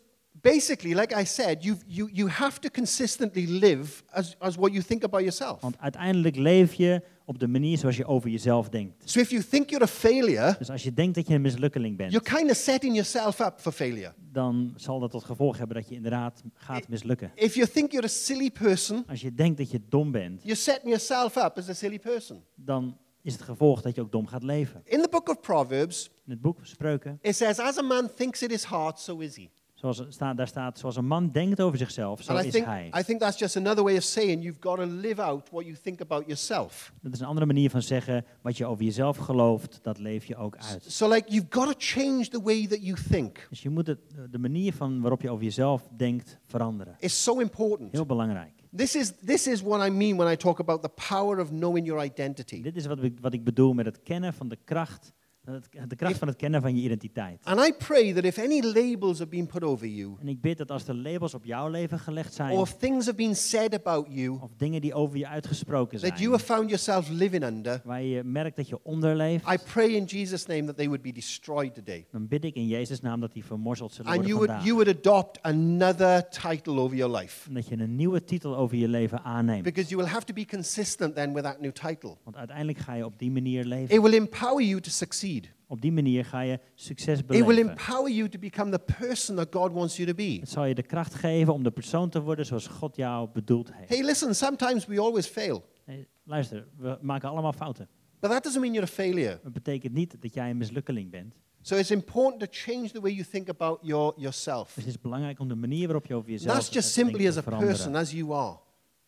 Speaker 2: basically, like I said, you, you, you have to consistently live as, as what you think about yourself.
Speaker 1: Want uiteindelijk leef je op de manier zoals je over jezelf denkt.
Speaker 2: So if you think you're a failure,
Speaker 1: Dus als je denkt dat je een mislukkeling bent,
Speaker 2: you're kind of setting yourself up for failure.
Speaker 1: dan zal dat tot gevolg hebben dat je inderdaad gaat mislukken.
Speaker 2: If you think you're a silly person,
Speaker 1: Als je denkt dat je dom bent,
Speaker 2: you're setting yourself up as a silly person.
Speaker 1: dan is het gevolg dat je ook dom gaat leven.
Speaker 2: In the book of Proverbs,
Speaker 1: In het boek Spreuken,
Speaker 2: it says, As a man thinks in his heart, so is he.
Speaker 1: zoals het staat, daar staat, zoals een man denkt over zichzelf, zo
Speaker 2: and I
Speaker 1: is
Speaker 2: think,
Speaker 1: hij.
Speaker 2: I think that's just another way of saying you've got to live out what you think about yourself.
Speaker 1: Dat is een andere manier van zeggen, wat je over jezelf gelooft, dat leef je ook uit.
Speaker 2: So, like, you've got to change the way that you think.
Speaker 1: Dus je moet het, de manier van waarop je over jezelf denkt veranderen.
Speaker 2: It's so important.
Speaker 1: Heel belangrijk.
Speaker 2: This is, this is what I mean when I talk about the power of knowing your identity.
Speaker 1: Dit is wat ik, wat ik bedoel met het kennen van de kracht, eh, het- de kracht van het kennen van je identiteit.
Speaker 2: And I pray that if any labels have been put over you,
Speaker 1: En ik bid dat als de labels op jouw leven gelegd zijn,
Speaker 2: or if things have been said about you
Speaker 1: of dingen die over je uitgesproken
Speaker 2: that you have
Speaker 1: zijn,
Speaker 2: found yourself living under,
Speaker 1: waar je merkt dat je onderleeft,
Speaker 2: I pray in Jesus' name that they would be destroyed today.
Speaker 1: dan bid ik in Jezus' naam dat die vermorzeld zullen
Speaker 2: And you
Speaker 1: worden vandaag.
Speaker 2: would, you would adopt another title over your life.
Speaker 1: En dat je een nieuwe titel over je leven aanneemt.
Speaker 2: Because you will have to be consistent then with that new title.
Speaker 1: Want uiteindelijk ga je op die manier
Speaker 2: It
Speaker 1: leven.
Speaker 2: will empower you to succeed.
Speaker 1: Op die manier ga je succes
Speaker 2: It will
Speaker 1: beleven.
Speaker 2: empower you to become the person that God wants you to be.
Speaker 1: Het zal je de kracht geven om de persoon te worden zoals God jou bedoeld heeft.
Speaker 2: Hey, listen, sometimes we always fail,
Speaker 1: Hey, luister, we maken allemaal fouten.
Speaker 2: but that doesn't mean you're a failure.
Speaker 1: Dat betekent niet dat jij een mislukkeling bent.
Speaker 2: So it's important to change the way you think about your, yourself.
Speaker 1: Dus het is belangrijk om de manier waarop je over jezelf
Speaker 2: That's just
Speaker 1: eh, denkt
Speaker 2: simply as
Speaker 1: te
Speaker 2: a
Speaker 1: veranderen.
Speaker 2: person, as you are.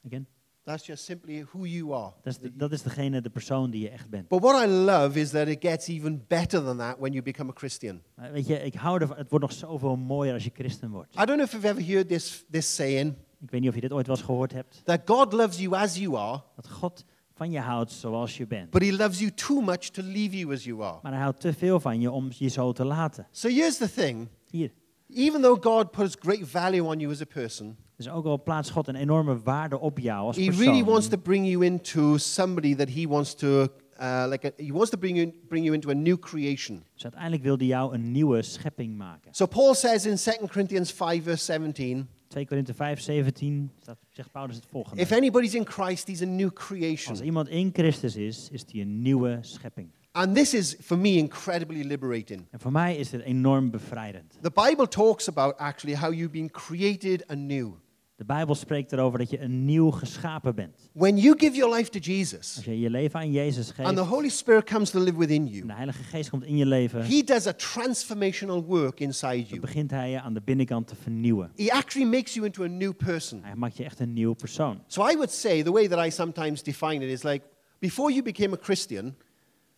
Speaker 1: Again,
Speaker 2: That's just simply who you are.
Speaker 1: dat, is de- dat is degene, de persoon die je echt bent.
Speaker 2: But what I love is that it gets even better than that when you become a Christian.
Speaker 1: Maar weet je, ik hou ervan. Het wordt nog zoveel mooier als je christen wordt.
Speaker 2: I don't know if you've ever heard this, this saying
Speaker 1: Ik weet niet of je dit ooit wel eens gehoord hebt.
Speaker 2: that God loves you as you are,
Speaker 1: Dat God van je houdt zoals je bent.
Speaker 2: but He loves you too much to leave you as you are.
Speaker 1: Maar hij houdt te veel van je om je zo te laten.
Speaker 2: So here's the thing
Speaker 1: Hier.
Speaker 2: even though God puts great value on you as a person,
Speaker 1: Dus ook al plaatst God een enorme waarde op jou als
Speaker 2: He really wants
Speaker 1: persoon.
Speaker 2: to bring you into somebody that He wants to, uh, like, a, He wants to bring you, bring you into a new creation.
Speaker 1: Dus uiteindelijk wil hij jou een nieuwe schepping maken.
Speaker 2: So Paul says in 2 Corinthians 5, verse 17,
Speaker 1: 2 Korinthe 5, 17 staat, zegt Paulus het volgende.
Speaker 2: if anybody's in Christ, he's a new
Speaker 1: Als
Speaker 2: creation.
Speaker 1: iemand in Christus is, is hij een nieuwe schepping.
Speaker 2: And this is, for me, incredibly liberating.
Speaker 1: En voor mij is dit enorm bevrijdend.
Speaker 2: The Bible talks about actually how you've been created anew.
Speaker 1: De Bijbel spreekt erover dat je een nieuw geschapen bent.
Speaker 2: When you give your life to Jesus
Speaker 1: Als je je leven aan Jezus geeft
Speaker 2: and the Holy Spirit comes to live within
Speaker 1: en
Speaker 2: you,
Speaker 1: de Heilige Geest komt in je leven,
Speaker 2: He does a transformational work inside
Speaker 1: dan
Speaker 2: you.
Speaker 1: begint hij je aan de binnenkant te vernieuwen.
Speaker 2: He actually makes you into a new person.
Speaker 1: Hij maakt je echt een nieuw persoon.
Speaker 2: So I would say the way that I sometimes define it is like before you became a Christian,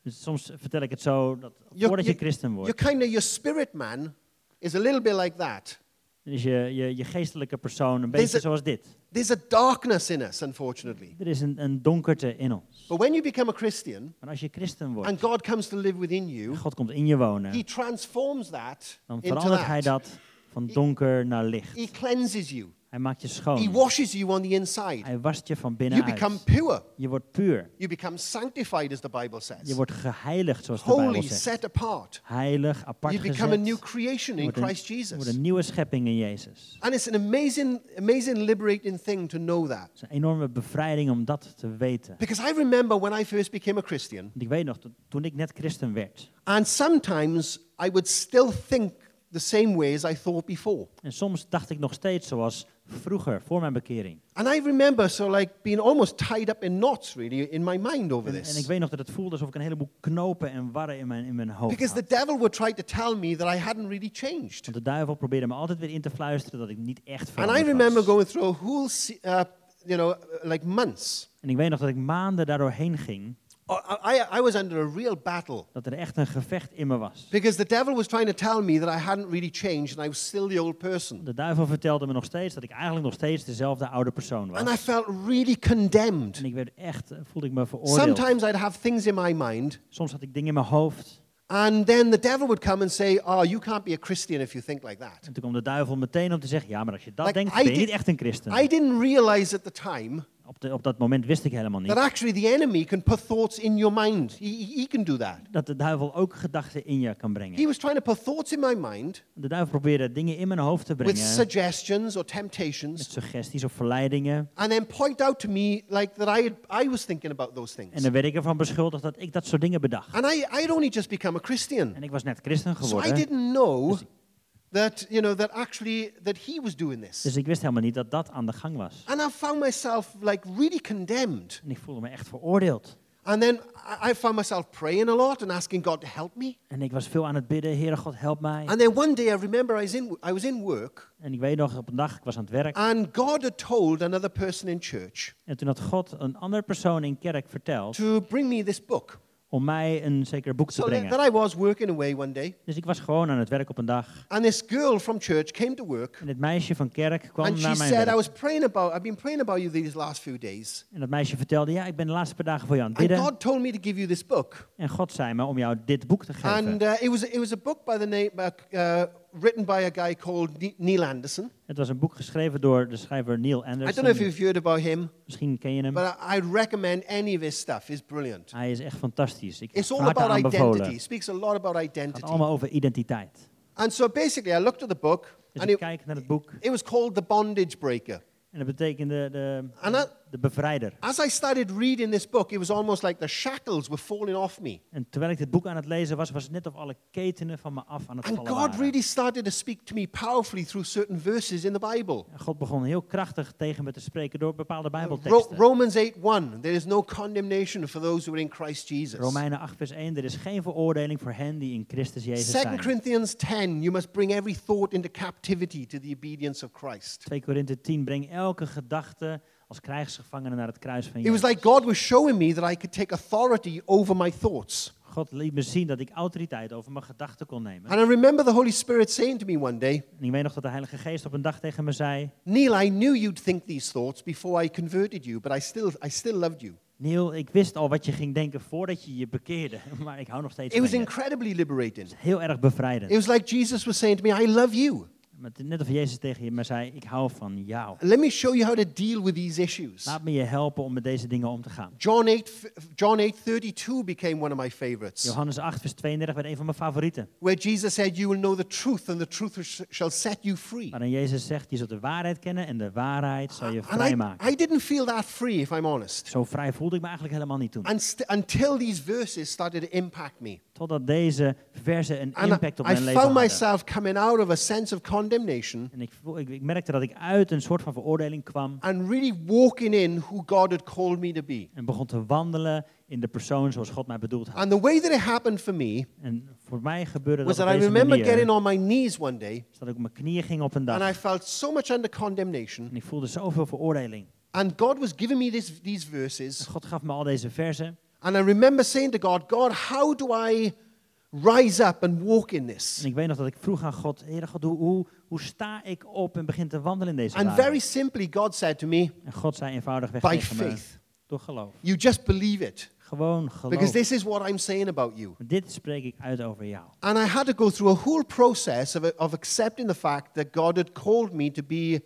Speaker 1: Dus soms vertel ik het zo dat
Speaker 2: your,
Speaker 1: voordat je christen
Speaker 2: your
Speaker 1: wordt,
Speaker 2: kind of your spirit man is a little bit like that.
Speaker 1: dan is je, je, je geestelijke persoon een
Speaker 2: There's
Speaker 1: beetje
Speaker 2: a-
Speaker 1: zoals dit.
Speaker 2: There's a darkness in us, unfortunately.
Speaker 1: Er is een, een donkerte in ons.
Speaker 2: But when you become a Christian
Speaker 1: Maar als je christen
Speaker 2: and
Speaker 1: wordt
Speaker 2: God comes to live within
Speaker 1: en
Speaker 2: you,
Speaker 1: God komt in je
Speaker 2: He
Speaker 1: wonen,
Speaker 2: transforms that
Speaker 1: dan
Speaker 2: into
Speaker 1: verandert hij
Speaker 2: that.
Speaker 1: dat van donker naar licht.
Speaker 2: He cleanses you.
Speaker 1: Hij maakt je
Speaker 2: He
Speaker 1: schoon.
Speaker 2: washes you on the inside.
Speaker 1: Hij wast je van
Speaker 2: You become
Speaker 1: binnenuit.
Speaker 2: pure.
Speaker 1: Je wordt puur.
Speaker 2: You become sanctified, as the Bible
Speaker 1: Je
Speaker 2: says.
Speaker 1: wordt geheiligd, zoals de
Speaker 2: Holy,
Speaker 1: Bijbel zegt.
Speaker 2: set apart.
Speaker 1: Heilig, apart
Speaker 2: You
Speaker 1: gezet.
Speaker 2: become a new creation
Speaker 1: Je
Speaker 2: in
Speaker 1: wordt een-
Speaker 2: Christ
Speaker 1: je wordt
Speaker 2: Jesus.
Speaker 1: een nieuwe schepping in Jezus.
Speaker 2: And it's an amazing, amazing, liberating thing to know that.
Speaker 1: Het is een enorme bevrijding om dat te weten.
Speaker 2: Because I remember when I first became a Christian,
Speaker 1: Want ik weet nog, to- toen ik net christen werd,
Speaker 2: and sometimes I would still think the same way as I thought before.
Speaker 1: En soms dacht ik nog steeds zoals vroeger, voor mijn bekering.
Speaker 2: And I remember, so like being almost tied up in knots, really, in my mind over
Speaker 1: En, en ik
Speaker 2: this.
Speaker 1: weet nog dat het voelde alsof ik een heleboel knopen en warren in mijn, in mijn hoofd
Speaker 2: Because
Speaker 1: had.
Speaker 2: the devil would try to tell me that I hadn't really changed.
Speaker 1: Want de duivel probeerde me altijd weer in te fluisteren dat ik niet echt
Speaker 2: And I
Speaker 1: veranderd
Speaker 2: remember
Speaker 1: was.
Speaker 2: going through a whole, se- uh, you know, like months.
Speaker 1: En ik weet nog dat ik maanden daardoor heen ging,
Speaker 2: I, I- I was under a real battle
Speaker 1: dat er echt een gevecht in me was.
Speaker 2: because the devil was trying to tell me that I hadn't really changed and I was still the old person.
Speaker 1: De duivel vertelde me nog steeds dat ik eigenlijk nog steeds dezelfde oude persoon
Speaker 2: And I
Speaker 1: was.
Speaker 2: felt really condemned.
Speaker 1: En ik werd echt, eh, voelde ik me veroordeeld.
Speaker 2: Sometimes I'd have things in my mind,
Speaker 1: Soms had ik dingen in mijn hoofd.
Speaker 2: and then the devil would come and say, Oh, you can't be a Christian if you think like that.
Speaker 1: En toen kwam de duivel meteen om te zeggen, ja, maar als je dat
Speaker 2: Like,
Speaker 1: denkt, ben
Speaker 2: I
Speaker 1: je
Speaker 2: did-
Speaker 1: niet echt een christen.
Speaker 2: I didn't realize at the time
Speaker 1: Op, de, op dat moment wist ik helemaal niet
Speaker 2: that actually the enemy can put thoughts in your mind. He, he can do that.
Speaker 1: dat de duivel ook gedachten in je kan brengen.
Speaker 2: He was trying to put thoughts in my mind
Speaker 1: De duivel probeerde dingen in mijn hoofd te
Speaker 2: with
Speaker 1: brengen.
Speaker 2: suggestions or
Speaker 1: Met
Speaker 2: temptations
Speaker 1: suggesties of verleidingen.
Speaker 2: and then point out to me like that I, had, I was thinking about those
Speaker 1: En
Speaker 2: things.
Speaker 1: dan werd ik ervan beschuldigd dat ik dat soort dingen bedacht.
Speaker 2: And I, I'd only just become a Christian.
Speaker 1: En ik was net christen
Speaker 2: So I
Speaker 1: geworden.
Speaker 2: didn't know that, you know, that actually that he was doing this.
Speaker 1: Dus ik wist helemaal niet dat dat aan de gang was.
Speaker 2: And I found myself like really condemned.
Speaker 1: En ik voelde me echt veroordeeld.
Speaker 2: And then I I found myself praying a lot and asking God to help me.
Speaker 1: En ik was veel aan het bidden, Heere God, help mij.
Speaker 2: And then one day I remember I was in, I was in work
Speaker 1: En ik weet nog, op een dag, ik was aan het werk.
Speaker 2: and God had told another person in church
Speaker 1: En toen had God een andere persoon in kerk verteld
Speaker 2: to bring me this book.
Speaker 1: om mij een zeker boek te
Speaker 2: So that, that
Speaker 1: brengen.
Speaker 2: I was working away one day,
Speaker 1: Dus ik was gewoon aan het werk op een dag.
Speaker 2: and this girl from church came to work,
Speaker 1: En het meisje van kerk kwam
Speaker 2: and she
Speaker 1: naar mijn
Speaker 2: said, "I
Speaker 1: werk.
Speaker 2: was praying about. I've been praying about you these last few days,
Speaker 1: En dat meisje vertelde, ja, ik ben de laatste paar dagen voor jou aan het
Speaker 2: and
Speaker 1: bidden.
Speaker 2: God told me to give you this book.
Speaker 1: En God zei me om jou dit boek te geven.
Speaker 2: And uh, it was it was a book by the name uh, uh, written by a guy called Ne- Neil Anderson.
Speaker 1: Het was een boek geschreven door de schrijver Neil
Speaker 2: I don't know if
Speaker 1: Anderson.
Speaker 2: you've heard about him,
Speaker 1: Misschien ken je hem.
Speaker 2: but I, I'd recommend any of his stuff. It's brilliant.
Speaker 1: Hij is echt fantastisch. Ik
Speaker 2: It's
Speaker 1: heb
Speaker 2: all
Speaker 1: hard
Speaker 2: about
Speaker 1: aanbevolen.
Speaker 2: identity. It
Speaker 1: Het
Speaker 2: speaks a lot about
Speaker 1: gaat
Speaker 2: identity.
Speaker 1: allemaal over identiteit.
Speaker 2: And so basically, I looked at the book,
Speaker 1: Dus
Speaker 2: and
Speaker 1: ik
Speaker 2: it,
Speaker 1: kijk naar het boek
Speaker 2: it was called The Bondage Breaker.
Speaker 1: en En dat betekende de,
Speaker 2: And I-
Speaker 1: de bevrijder.
Speaker 2: as I started reading this book, it was almost like the shackles were falling off me.
Speaker 1: En terwijl ik dit boek aan het lezen was, was het net of alle ketenen van me af aan het
Speaker 2: And
Speaker 1: vallen
Speaker 2: God
Speaker 1: waren.
Speaker 2: really started to speak to me powerfully through certain verses in the Bible.
Speaker 1: En God begon heel krachtig tegen me te spreken door bepaalde
Speaker 2: Ro-
Speaker 1: bijbelteksten.
Speaker 2: Romans 8 1, there is no condemnation for those who are in Christ Jesus.
Speaker 1: Romeinen 8 vers 1, er is geen veroordeling voor hen die in Christus Jezus
Speaker 2: 2
Speaker 1: zijn.
Speaker 2: Corinthians 10, you must bring every thought into captivity to the obedience of Christ.
Speaker 1: 2 Korinthe 10, breng elke gedachte als krijgsgevangene naar het kruis van
Speaker 2: It was
Speaker 1: Jezus.
Speaker 2: like God was showing me that I could take authority over my thoughts.
Speaker 1: God liet me zien dat ik autoriteit over mijn gedachten kon nemen.
Speaker 2: And I remember the Holy Spirit saying to me one day,
Speaker 1: En ik weet nog dat de Heilige Geest op een dag tegen me zei,
Speaker 2: Neil, I knew you'd think these thoughts before I converted you, but I still, I still loved you.
Speaker 1: Neil, ik wist al wat je ging denken voordat je je bekeerde, maar ik hou nog steeds
Speaker 2: It was
Speaker 1: van je.
Speaker 2: incredibly liberating.
Speaker 1: Heel erg
Speaker 2: It
Speaker 1: bevrijdend.
Speaker 2: was like Jesus was saying to me, I love you.
Speaker 1: Maar het- Net of Jezus tegen je maar zei, ik hou van jou.
Speaker 2: Let me show you how to deal with these issues.
Speaker 1: Laat me je helpen om met deze dingen om te gaan.
Speaker 2: John 8, f- John 8 32 became one of my favorites,
Speaker 1: Johannes 8 vers 32 werd een van mijn favorieten.
Speaker 2: where Jesus said, You will know the truth, and the truth sh- shall set you free.
Speaker 1: Waarin Jezus zegt, je zult de waarheid kennen en de waarheid zal je
Speaker 2: And I,
Speaker 1: vrijmaken.
Speaker 2: I didn't feel that free, if I'm honest,
Speaker 1: Zo vrij voelde ik me eigenlijk helemaal niet toen.
Speaker 2: and st- until these verses started to impact me.
Speaker 1: Totdat deze verzen een
Speaker 2: And
Speaker 1: impact
Speaker 2: I,
Speaker 1: op
Speaker 2: I
Speaker 1: mijn leven
Speaker 2: found
Speaker 1: hadden.
Speaker 2: myself coming out of a sense of condemnation
Speaker 1: En ik, voel- ik, ik merkte dat ik uit een soort van veroordeling kwam.
Speaker 2: and really walking in who God had called me to be.
Speaker 1: En begon te wandelen in de persoon zoals God mij bedoeld had.
Speaker 2: And the way that it happened for me
Speaker 1: En voor mij gebeurde
Speaker 2: was
Speaker 1: dat
Speaker 2: that
Speaker 1: op
Speaker 2: I
Speaker 1: deze
Speaker 2: remember getting
Speaker 1: manier.
Speaker 2: on my knees one day,
Speaker 1: is Dat ik op mijn knieën ging op een
Speaker 2: and I
Speaker 1: dag.
Speaker 2: felt so much under condemnation.
Speaker 1: En ik voelde zoveel veroordeling.
Speaker 2: And God was giving me this, these
Speaker 1: Dus
Speaker 2: verses.
Speaker 1: God gaf me al deze verzen.
Speaker 2: And I remember saying to God, God, how do I rise up and walk in
Speaker 1: En
Speaker 2: this?
Speaker 1: ik weet nog dat ik vroeg aan God, Heere God, hoe, hoe, hoe sta ik op en begin te wandelen in deze
Speaker 2: And
Speaker 1: waarheid?
Speaker 2: very simply, God said to me,
Speaker 1: En God zei eenvoudigweg
Speaker 2: by
Speaker 1: tegen me,
Speaker 2: faith.
Speaker 1: door geloof.
Speaker 2: You just believe it.
Speaker 1: Gewoon
Speaker 2: Because
Speaker 1: geloof.
Speaker 2: this is what I'm saying about you.
Speaker 1: Dit spreek ik uit over jou.
Speaker 2: And I had to go through a whole process of, of accepting the fact that God had called me to be,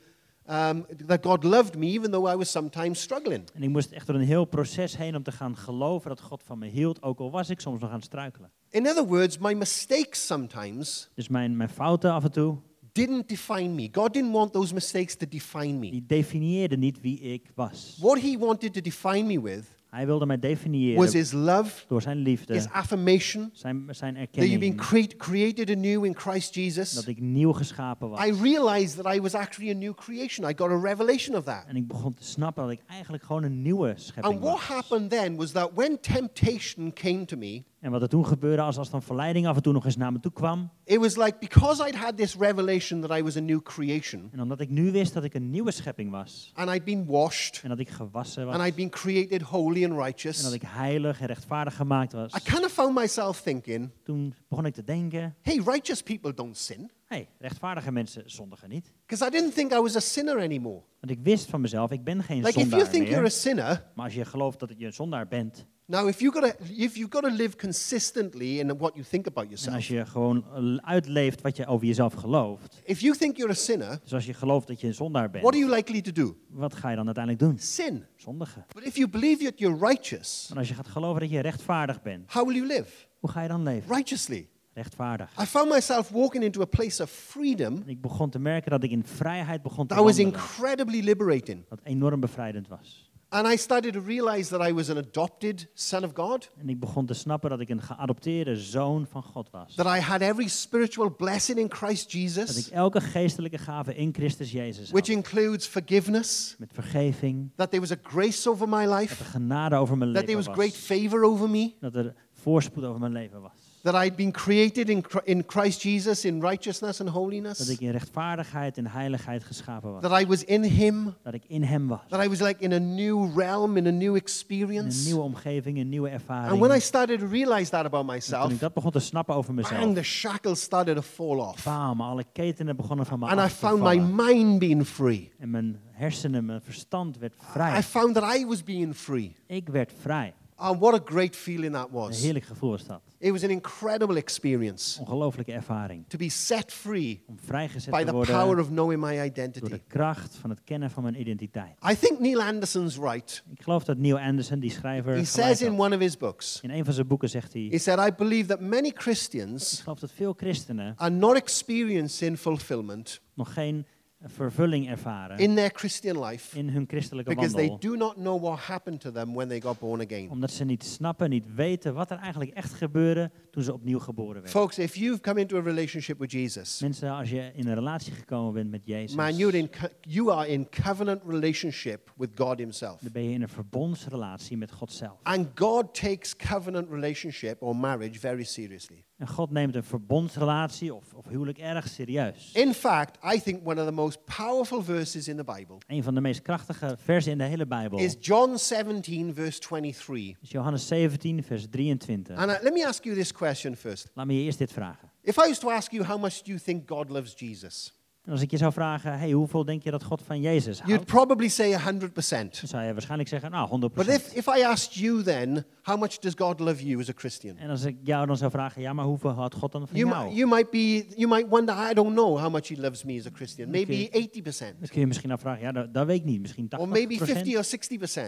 Speaker 2: um, that God loved me, even though I was sometimes struggling.
Speaker 1: En ik moest echt door een heel proces heen om te gaan geloven dat God van me hield, ook al was ik soms nog aan het struikelen.
Speaker 2: In other words, my mistakes sometimes
Speaker 1: Dus mijn, mijn fouten af en toe,
Speaker 2: didn't define me. God didn't want those mistakes to define me.
Speaker 1: die definieerden niet wie ik was.
Speaker 2: What He wanted to define me with
Speaker 1: Hij wilde mij
Speaker 2: was
Speaker 1: definiëren
Speaker 2: His love,
Speaker 1: door zijn
Speaker 2: His
Speaker 1: liefde,
Speaker 2: affirmation
Speaker 1: zijn, zijn
Speaker 2: that you've been
Speaker 1: erkenning,
Speaker 2: create, created anew in Christ Jesus.
Speaker 1: dat ik nieuw geschapen
Speaker 2: I
Speaker 1: was.
Speaker 2: realized that I was actually a new creation. I got a revelation of that.
Speaker 1: En ik begon te snappen dat ik eigenlijk gewoon een nieuwe schepping
Speaker 2: And what
Speaker 1: was.
Speaker 2: happened then was that when temptation came to me,
Speaker 1: En wat er toen gebeurde, als, als dan verleiding af en toe nog eens naar me toe kwam.
Speaker 2: it was like because I'd had this revelation that I was a new creation
Speaker 1: En omdat ik nu wist dat ik een nieuwe schepping was.
Speaker 2: and I'd been washed
Speaker 1: En dat ik gewassen was.
Speaker 2: and I'd been created holy and
Speaker 1: En dat
Speaker 2: righteous,
Speaker 1: ik heilig en rechtvaardig gemaakt was.
Speaker 2: I kind of found myself thinking,
Speaker 1: Toen begon ik te denken,
Speaker 2: hey, righteous people don't sin.
Speaker 1: hé, hey, rechtvaardige mensen zondigen niet.
Speaker 2: Because I didn't think I was a sinner anymore.
Speaker 1: Want ik wist van mezelf, ik ben geen
Speaker 2: Like if you
Speaker 1: zondaar
Speaker 2: think you're a
Speaker 1: meer.
Speaker 2: sinner,
Speaker 1: Maar als je gelooft dat je een zondaar bent,
Speaker 2: now if you gotta if you've got to live consistently in what you think about
Speaker 1: en
Speaker 2: yourself,
Speaker 1: als je gewoon eh, uitleeft wat je over jezelf gelooft,
Speaker 2: if you think you're a sinner,
Speaker 1: dus als je gelooft dat je een zondaar
Speaker 2: what are
Speaker 1: bent,
Speaker 2: you likely to do?
Speaker 1: wat ga je dan uiteindelijk doen?
Speaker 2: Sin.
Speaker 1: Zondigen.
Speaker 2: But if you believe that you're righteous,
Speaker 1: Maar als je gaat geloven dat je rechtvaardig bent,
Speaker 2: how will you live?
Speaker 1: hoe ga je dan leven?
Speaker 2: Righteously.
Speaker 1: Rechtvaardig.
Speaker 2: I found myself walking into a place of freedom
Speaker 1: En ik begon te merken dat ik in vrijheid begon te
Speaker 2: that was
Speaker 1: wandelen.
Speaker 2: incredibly liberating.
Speaker 1: Wat enorm bevrijdend was.
Speaker 2: And I started to realize that I was an adopted son of God,
Speaker 1: En ik begon te snappen dat ik een geadopteerde zoon van God was.
Speaker 2: that I had every spiritual blessing in Christ
Speaker 1: Dat ik
Speaker 2: Jesus,
Speaker 1: elke geestelijke gave in Christus Jezus
Speaker 2: which
Speaker 1: had.
Speaker 2: includes forgiveness,
Speaker 1: Met vergeving,
Speaker 2: that there was a grace over my
Speaker 1: dat
Speaker 2: life.
Speaker 1: er genade over mijn
Speaker 2: that there was
Speaker 1: leven
Speaker 2: great
Speaker 1: was.
Speaker 2: favor over me,
Speaker 1: Dat er voorspoed over mijn leven was.
Speaker 2: that I'd been created in, Chr- in Christ Jesus in righteousness and
Speaker 1: Dat
Speaker 2: holiness,
Speaker 1: ik in rechtvaardigheid en heiligheid geschapen was.
Speaker 2: that I was in Him,
Speaker 1: Dat ik in hem was.
Speaker 2: that I was like in a new realm, in a new
Speaker 1: In een
Speaker 2: experience.
Speaker 1: nieuwe omgeving, een nieuwe
Speaker 2: And when I
Speaker 1: ervaring.
Speaker 2: started to realize that about
Speaker 1: En toen
Speaker 2: myself,
Speaker 1: ik dat begon te snappen over
Speaker 2: bang, the
Speaker 1: mezelf.
Speaker 2: shackles started to fall off.
Speaker 1: Bam, alle ketenen begonnen van me
Speaker 2: And I
Speaker 1: af te
Speaker 2: found my
Speaker 1: vallen.
Speaker 2: mind being free.
Speaker 1: En mijn hersenen, mijn verstand werd
Speaker 2: I
Speaker 1: vrij.
Speaker 2: found that I was being free.
Speaker 1: Ik werd vrij.
Speaker 2: And what a great feeling that
Speaker 1: Een
Speaker 2: was.
Speaker 1: heerlijk gevoel was dat.
Speaker 2: It was an incredible experience
Speaker 1: Ongelooflijke ervaring.
Speaker 2: to be set free
Speaker 1: Om vrijgezet
Speaker 2: by
Speaker 1: te
Speaker 2: the power
Speaker 1: worden
Speaker 2: of knowing my
Speaker 1: door de
Speaker 2: identity.
Speaker 1: kracht van het kennen van mijn identiteit.
Speaker 2: I think Neil Anderson's right.
Speaker 1: Ik geloof dat Neil Anderson, die schrijver,
Speaker 2: He
Speaker 1: gelijk
Speaker 2: says in
Speaker 1: had.
Speaker 2: one of his books,
Speaker 1: in een van zijn boeken zegt hij...
Speaker 2: he
Speaker 1: Ik
Speaker 2: said, I believe that many Christians
Speaker 1: geloof dat veel christenen
Speaker 2: are not experiencing fulfillment
Speaker 1: nog geen vervulling ervaren
Speaker 2: in their Christian life
Speaker 1: in hun christelijke
Speaker 2: because they
Speaker 1: wandel.
Speaker 2: do not know what happened to them when they got born again.
Speaker 1: Omdat ze niet snappen, niet weten wat er eigenlijk echt gebeurde toen ze opnieuw geboren werden.
Speaker 2: Folks, if you've come into a relationship with Jesus,
Speaker 1: Mensen, als je in een relatie gekomen bent met Jezus,
Speaker 2: man, you're in, co- you are in covenant relationship with God Himself.
Speaker 1: dan ben je in een verbondsrelatie met God zelf.
Speaker 2: And God takes covenant relationship or marriage very seriously.
Speaker 1: En God neemt een verbondsrelatie of, of huwelijk erg serieus.
Speaker 2: In fact, I think one of the most powerful verses in the Bible
Speaker 1: Een van de meest krachtige versen in de hele Bijbel
Speaker 2: is John 17, verse 23.
Speaker 1: is Johannes 17, vers 23.
Speaker 2: And I, let me ask you this question first.
Speaker 1: Laat me je eerst dit vragen.
Speaker 2: If I was to ask you how much do you think God loves Jesus,
Speaker 1: En als ik je zou vragen, hey, hoeveel denk je dat God van Jezus
Speaker 2: you'd
Speaker 1: houdt?
Speaker 2: probably say 100%.
Speaker 1: Dan zou je waarschijnlijk zeggen, nou, 100%.
Speaker 2: But if, if I asked you then, how much does God love you as a Christian?
Speaker 1: En als ik jou dan zou vragen, ja, maar hoeveel houdt God dan van
Speaker 2: You,
Speaker 1: jou?
Speaker 2: might, you, might be, you might wonder, I don't know how much he loves me as a Christian. Maybe
Speaker 1: Okay.
Speaker 2: 80%,
Speaker 1: Dan kun je misschien afvragen, ja, dat, dat weet ik niet. Misschien 80%,
Speaker 2: or maybe 50 or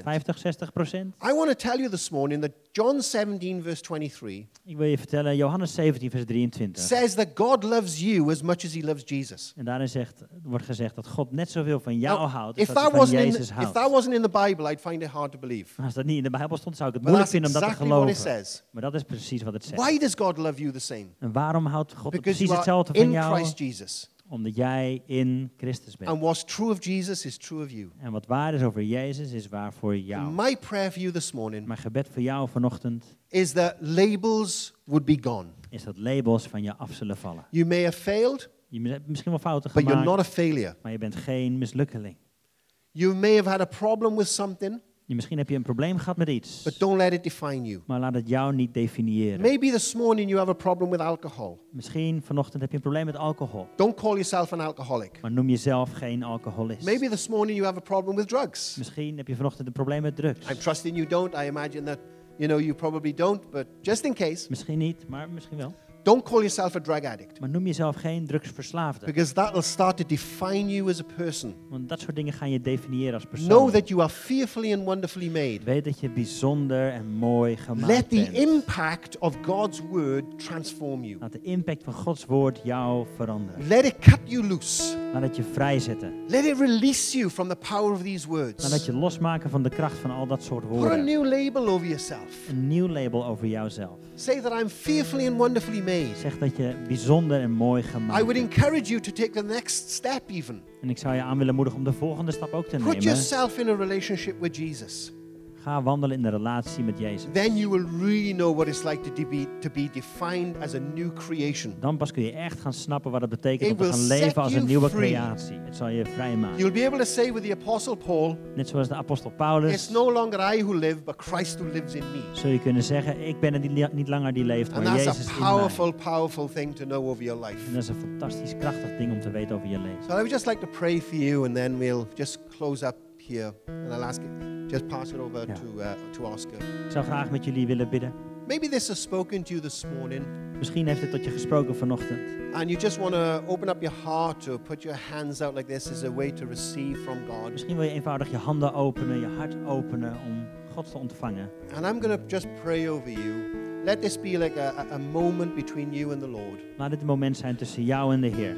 Speaker 2: 60%.
Speaker 1: 50, 60 procent.
Speaker 2: I want to tell you this morning that John 17, verse 23,
Speaker 1: Ik wil je vertellen, Johannes 17, vers 23.
Speaker 2: says that God loves you as much as he loves Jesus.
Speaker 1: En daarin zegt, wordt gezegd dat God net zoveel van jou
Speaker 2: Now,
Speaker 1: houdt als
Speaker 2: Nou,
Speaker 1: dat hij van
Speaker 2: if, that wasn't in,
Speaker 1: Jezus
Speaker 2: if
Speaker 1: houdt.
Speaker 2: that wasn't in the Bible, I'd find it hard to believe.
Speaker 1: Als dat niet in de Bijbel stond, zou ik het
Speaker 2: But
Speaker 1: moeilijk
Speaker 2: that's
Speaker 1: vinden om dat te
Speaker 2: exactly what it
Speaker 1: geloven.
Speaker 2: says.
Speaker 1: Maar dat is precies wat het zegt.
Speaker 2: Why does God love you the same?
Speaker 1: En waarom houdt God
Speaker 2: Because
Speaker 1: precies
Speaker 2: you are
Speaker 1: hetzelfde van
Speaker 2: in
Speaker 1: jou?
Speaker 2: Christ Jesus.
Speaker 1: Omdat jij in Christus bent.
Speaker 2: And what's true of Jesus is true of you.
Speaker 1: En wat waar is over Jezus, is waar voor
Speaker 2: And
Speaker 1: jou.
Speaker 2: my prayer for you this morning
Speaker 1: Mijn gebed voor jou vanochtend
Speaker 2: is that labels would be gone.
Speaker 1: is dat labels van je af zullen vallen.
Speaker 2: You may have failed,
Speaker 1: Je hebt misschien wel fouten
Speaker 2: but you're
Speaker 1: gemaakt,
Speaker 2: not a failure.
Speaker 1: maar je bent geen mislukkeling.
Speaker 2: You may have had a problem with something,
Speaker 1: Je, misschien heb je een probleem gehad met iets,
Speaker 2: but don't let it define you.
Speaker 1: maar laat het jou niet definiëren.
Speaker 2: Maybe this morning you have a problem with alcohol.
Speaker 1: Misschien vanochtend heb je een probleem met alcohol,
Speaker 2: Don't call yourself an alcoholic.
Speaker 1: maar noem jezelf geen alcoholist.
Speaker 2: Maybe this morning you have a problem with drugs.
Speaker 1: Misschien heb je vanochtend een probleem met drugs.
Speaker 2: I'm trusting you don't. I imagine that you know you probably don't, but just in case,
Speaker 1: Misschien niet, maar misschien wel.
Speaker 2: don't call yourself a drug addict
Speaker 1: Maar noem jezelf geen drugsverslaafde.
Speaker 2: because that will start to define you as a person.
Speaker 1: Want dat soort dingen gaan je definiëren als
Speaker 2: Know
Speaker 1: persoon.
Speaker 2: that you are fearfully and wonderfully made.
Speaker 1: Weet dat je bijzonder en mooi gemaakt
Speaker 2: Let the
Speaker 1: bent.
Speaker 2: impact of God's word transform you.
Speaker 1: Laat de impact van Gods woord jou veranderen.
Speaker 2: Let it cut you loose.
Speaker 1: Laat het je vrijzetten.
Speaker 2: Let it release you from the power of these
Speaker 1: Laat het
Speaker 2: words.
Speaker 1: je losmaken van de kracht van al dat soort
Speaker 2: Put a
Speaker 1: woorden.
Speaker 2: new label over yourself.
Speaker 1: Een nieuw label over jouzelf.
Speaker 2: Say that I'm fearfully and wonderfully made.
Speaker 1: Zeg dat je bijzonder en mooi
Speaker 2: I
Speaker 1: gemaakt
Speaker 2: would
Speaker 1: bent.
Speaker 2: encourage you to take the next step, even.
Speaker 1: En ik zou je aan willen moedigen om de volgende stap ook te
Speaker 2: Put
Speaker 1: nemen.
Speaker 2: yourself in a relationship with Jesus.
Speaker 1: Ga wandelen in de relatie met Jezus.
Speaker 2: Then you will really know what it's like to de- be, to be defined as a new creation.
Speaker 1: Dan pas kun je echt gaan snappen wat het betekent om
Speaker 2: It
Speaker 1: te
Speaker 2: will
Speaker 1: gaan
Speaker 2: set
Speaker 1: leven als
Speaker 2: you
Speaker 1: een nieuwe
Speaker 2: free.
Speaker 1: creatie. Het zal je vrijmaken.
Speaker 2: You'll be able to say with the Apostle Paul,
Speaker 1: Net zoals de apostel Paulus
Speaker 2: It's no longer I who live, but Christ who lives in me.
Speaker 1: zul je kunnen zeggen, ik ben het niet- niet langer die leeft,
Speaker 2: And
Speaker 1: maar
Speaker 2: that's
Speaker 1: Jezus
Speaker 2: a
Speaker 1: in mij.
Speaker 2: powerful, powerful thing to know over your life.
Speaker 1: En dat is een fantastisch krachtig ding om te weten over je leven.
Speaker 2: So I would just like to pray for you, and then we'll just close up here, and I'll ask it, just pass it over
Speaker 1: Yeah.
Speaker 2: to uh, to Oscar.
Speaker 1: Ik zou graag met jullie willen bidden.
Speaker 2: Maybe this has spoken to you this morning,
Speaker 1: Misschien heeft het tot je gesproken vanochtend.
Speaker 2: and you just want to open up your heart or put your hands out like this as a way to receive from God.
Speaker 1: Misschien wil je eenvoudig je handen openen, je hart openen om God te ontvangen.
Speaker 2: And I'm going to just pray over you. Let this be like a, a a moment between you and the Lord.
Speaker 1: Laat dit een moment zijn tussen jou en de Heer.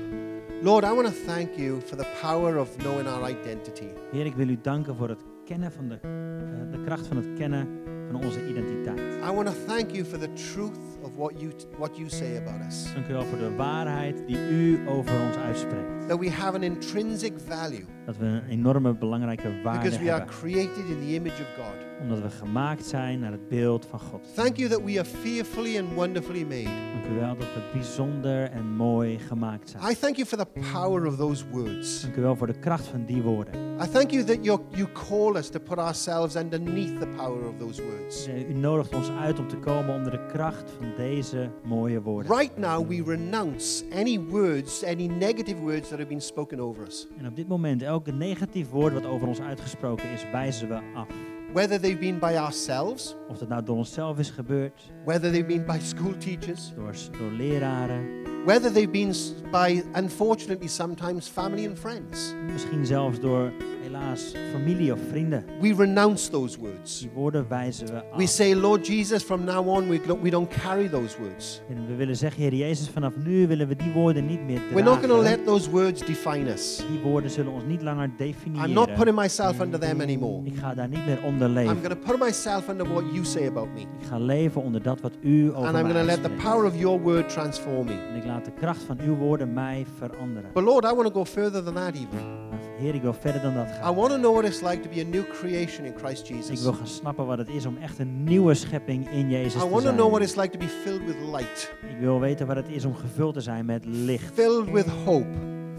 Speaker 2: Lord, I want to thank you for the power of knowing our identity.
Speaker 1: Heer, ik wil u danken voor het kennen van de, eh, de kracht van het kennen van onze identiteit.
Speaker 2: I want to thank you for the truth of what you what you say about us.
Speaker 1: Dank u wel voor de waarheid die u over ons uitspreekt.
Speaker 2: That we have an intrinsic value.
Speaker 1: Dat we een enorme belangrijke waarde
Speaker 2: Because we are
Speaker 1: hebben,
Speaker 2: created in the image of God.
Speaker 1: omdat we gemaakt zijn naar het beeld van God.
Speaker 2: Thank you that we are fearfully and wonderfully made.
Speaker 1: Dank u wel dat we bijzonder en mooi gemaakt zijn.
Speaker 2: I thank you for the power of those words.
Speaker 1: Dank u wel voor de kracht van die woorden.
Speaker 2: I thank you that you you call us to put ourselves underneath the power of those words.
Speaker 1: Eh, U nodigt ons uit om te komen onder de kracht van deze mooie woorden.
Speaker 2: Right now, we renounce any words, any negative words that have been spoken over us,
Speaker 1: En op dit moment, elk negatief woord wat over ons uitgesproken is, wijzen we af.
Speaker 2: whether they've been by ourselves,
Speaker 1: Of dat nou door onszelf is gebeurd,
Speaker 2: whether they've been by school teachers,
Speaker 1: door, door leraren,
Speaker 2: whether they've been s- by, unfortunately, sometimes family and friends.
Speaker 1: Misschien zelfs door helaas familie of vrienden.
Speaker 2: We renounce those words.
Speaker 1: Die woorden wijzen we
Speaker 2: We
Speaker 1: af.
Speaker 2: say, Lord Jesus, from now on, we don't, we don't carry those words.
Speaker 1: En we willen zeggen, Heer Jezus, vanaf nu willen we die woorden niet meer
Speaker 2: We're not going to
Speaker 1: dragen.
Speaker 2: let those words define us.
Speaker 1: Die woorden zullen ons niet langer
Speaker 2: I'm not
Speaker 1: definiëren.
Speaker 2: putting myself under them anymore.
Speaker 1: Ik ga daar niet meer onder
Speaker 2: I'm
Speaker 1: leven.
Speaker 2: going to put myself under what you say about me.
Speaker 1: Ik ga leven onder dat wat u over
Speaker 2: And I'm
Speaker 1: mij
Speaker 2: going to let the
Speaker 1: uitspreekt.
Speaker 2: power of your word transform me.
Speaker 1: En ik laat de kracht van uw woorden mij veranderen.
Speaker 2: But Lord, I want to go further than that even.
Speaker 1: Maar Heer, ik wil verder dan dat
Speaker 2: I
Speaker 1: gaan.
Speaker 2: want to know what it's like to be a new creation in Christ
Speaker 1: Ik
Speaker 2: Jesus.
Speaker 1: wil gaan snappen wat het is om echt een nieuwe schepping in Jezus
Speaker 2: I
Speaker 1: te
Speaker 2: want to know
Speaker 1: zijn.
Speaker 2: what it's like to be filled with light,
Speaker 1: Ik wil weten wat het is om gevuld te zijn met licht.
Speaker 2: filled with hope,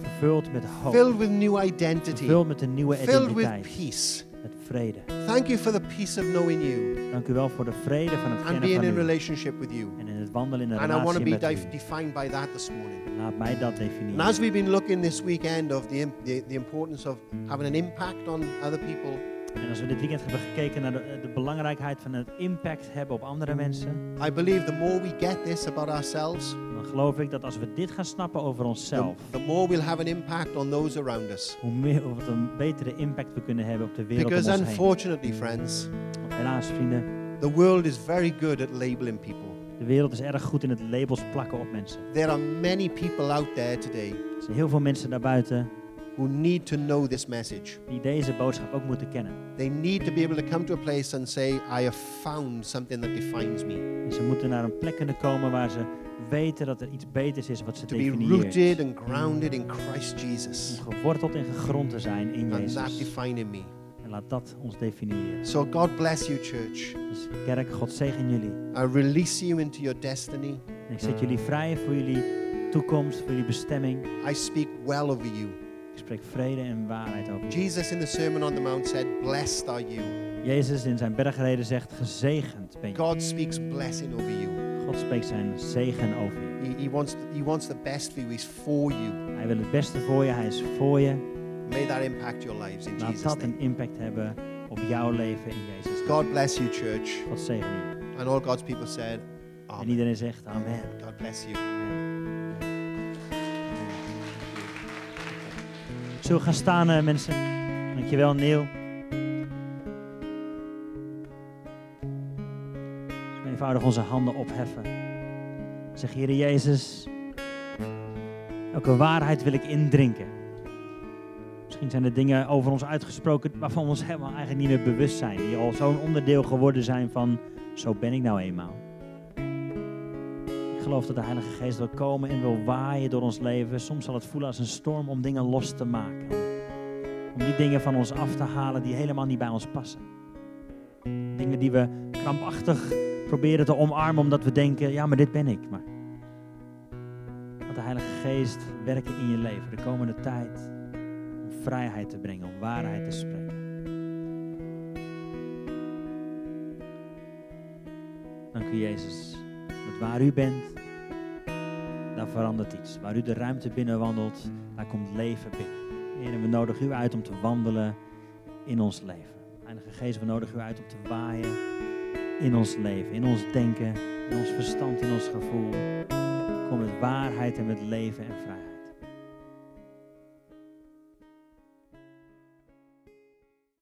Speaker 1: Vervuld met hoop.
Speaker 2: filled with new identity,
Speaker 1: Vervuld met een nieuwe
Speaker 2: filled with
Speaker 1: identiteit.
Speaker 2: peace.
Speaker 1: Met vrede.
Speaker 2: Thank you for the peace of knowing you
Speaker 1: Dank u wel voor de vrede van het
Speaker 2: and
Speaker 1: kennen
Speaker 2: being
Speaker 1: van
Speaker 2: in
Speaker 1: u.
Speaker 2: relationship with you.
Speaker 1: En in het wandelen in een
Speaker 2: And I want to
Speaker 1: relatie
Speaker 2: be
Speaker 1: met u.
Speaker 2: def- defined by that this morning.
Speaker 1: Laat mij dat
Speaker 2: And
Speaker 1: definiëren.
Speaker 2: as we've been looking this weekend of the, im- the, the importance of having an impact on other people,
Speaker 1: En als we dit weekend hebben gekeken naar de, de belangrijkheid van het impact hebben op andere mensen.
Speaker 2: I believe the more we get this about ourselves,
Speaker 1: Dan geloof ik dat als we dit gaan snappen over
Speaker 2: the,
Speaker 1: onszelf.
Speaker 2: the more we'll have an impact on those around us.
Speaker 1: hoe meer of wat een betere impact we kunnen hebben op de wereld
Speaker 2: Because
Speaker 1: om ons heen.
Speaker 2: unfortunately, friends,
Speaker 1: Want helaas, vrienden,
Speaker 2: the world is very good at labeling people.
Speaker 1: de wereld is erg goed in het labels plakken op mensen.
Speaker 2: There are many people out there today
Speaker 1: Er zijn heel veel mensen daarbuiten
Speaker 2: who need to know this message.
Speaker 1: die deze boodschap ook moeten kennen.
Speaker 2: They need to be able to come to a place and say, I have found something that defines me.
Speaker 1: En ze moeten naar een plek kunnen komen waar ze weten dat er iets beters is wat ze
Speaker 2: To be
Speaker 1: definieert.
Speaker 2: rooted and grounded in Christ Jesus.
Speaker 1: Om geworteld en gegrond te zijn in
Speaker 2: And that
Speaker 1: Jezus.
Speaker 2: defining me.
Speaker 1: En laat dat ons definiëren.
Speaker 2: So God bless you, church.
Speaker 1: Dus kerk, God zegen jullie.
Speaker 2: I release you into your destiny.
Speaker 1: En ik
Speaker 2: Mm.
Speaker 1: zet jullie vrij voor jullie toekomst, voor jullie bestemming.
Speaker 2: I speak well over you.
Speaker 1: Ik spreek vrede en waarheid over jullie.
Speaker 2: Jesus in the Sermon on the Mount said, Blessed are you.
Speaker 1: Jezus in zijn bergreden zegt, gezegend ben je.
Speaker 2: God speaks blessing over you.
Speaker 1: God spreekt zijn zegen over je.
Speaker 2: He, he, wants, he wants the best for you. He's for you.
Speaker 1: Hij wil het beste voor je, hij is voor je.
Speaker 2: May that impact your lives in
Speaker 1: Laat
Speaker 2: Jesus'
Speaker 1: dat een
Speaker 2: name.
Speaker 1: impact hebben op jouw leven in Jezus. naam.
Speaker 2: God bless you, church.
Speaker 1: God zegen je.
Speaker 2: And all God's people said,
Speaker 1: En
Speaker 2: Amen.
Speaker 1: iedereen zegt amen.
Speaker 2: God bless you.
Speaker 1: Zullen we gaan staan, eh, mensen? Dankjewel, Neil. Zullen we eenvoudig onze handen opheffen. Zeg, Heer Jezus, elke waarheid wil ik indrinken. Misschien zijn er dingen over ons uitgesproken waarvan we ons helemaal eigenlijk niet meer bewust zijn. Die al zo'n onderdeel geworden zijn van, zo ben ik nou eenmaal. Ik geloof dat de Heilige Geest wil komen en wil waaien door ons leven. Soms zal het voelen als een storm om dingen los te maken. Om die dingen van ons af te halen die helemaal niet bij ons passen. Dingen die we krampachtig proberen te omarmen omdat we denken, ja maar dit ben ik. Maar laat de Heilige Geest werken in je leven de komende tijd. Om vrijheid te brengen, om waarheid te spreken. Dank u Jezus. Want waar u bent, daar verandert iets. Waar u de ruimte binnen wandelt, daar komt leven binnen. Heer, en we nodigen u uit om te wandelen in ons leven. Heilige Geest, we nodigen u uit om te waaien in ons leven, in ons denken, in ons verstand, in ons gevoel. Kom met waarheid en met leven en vrijheid.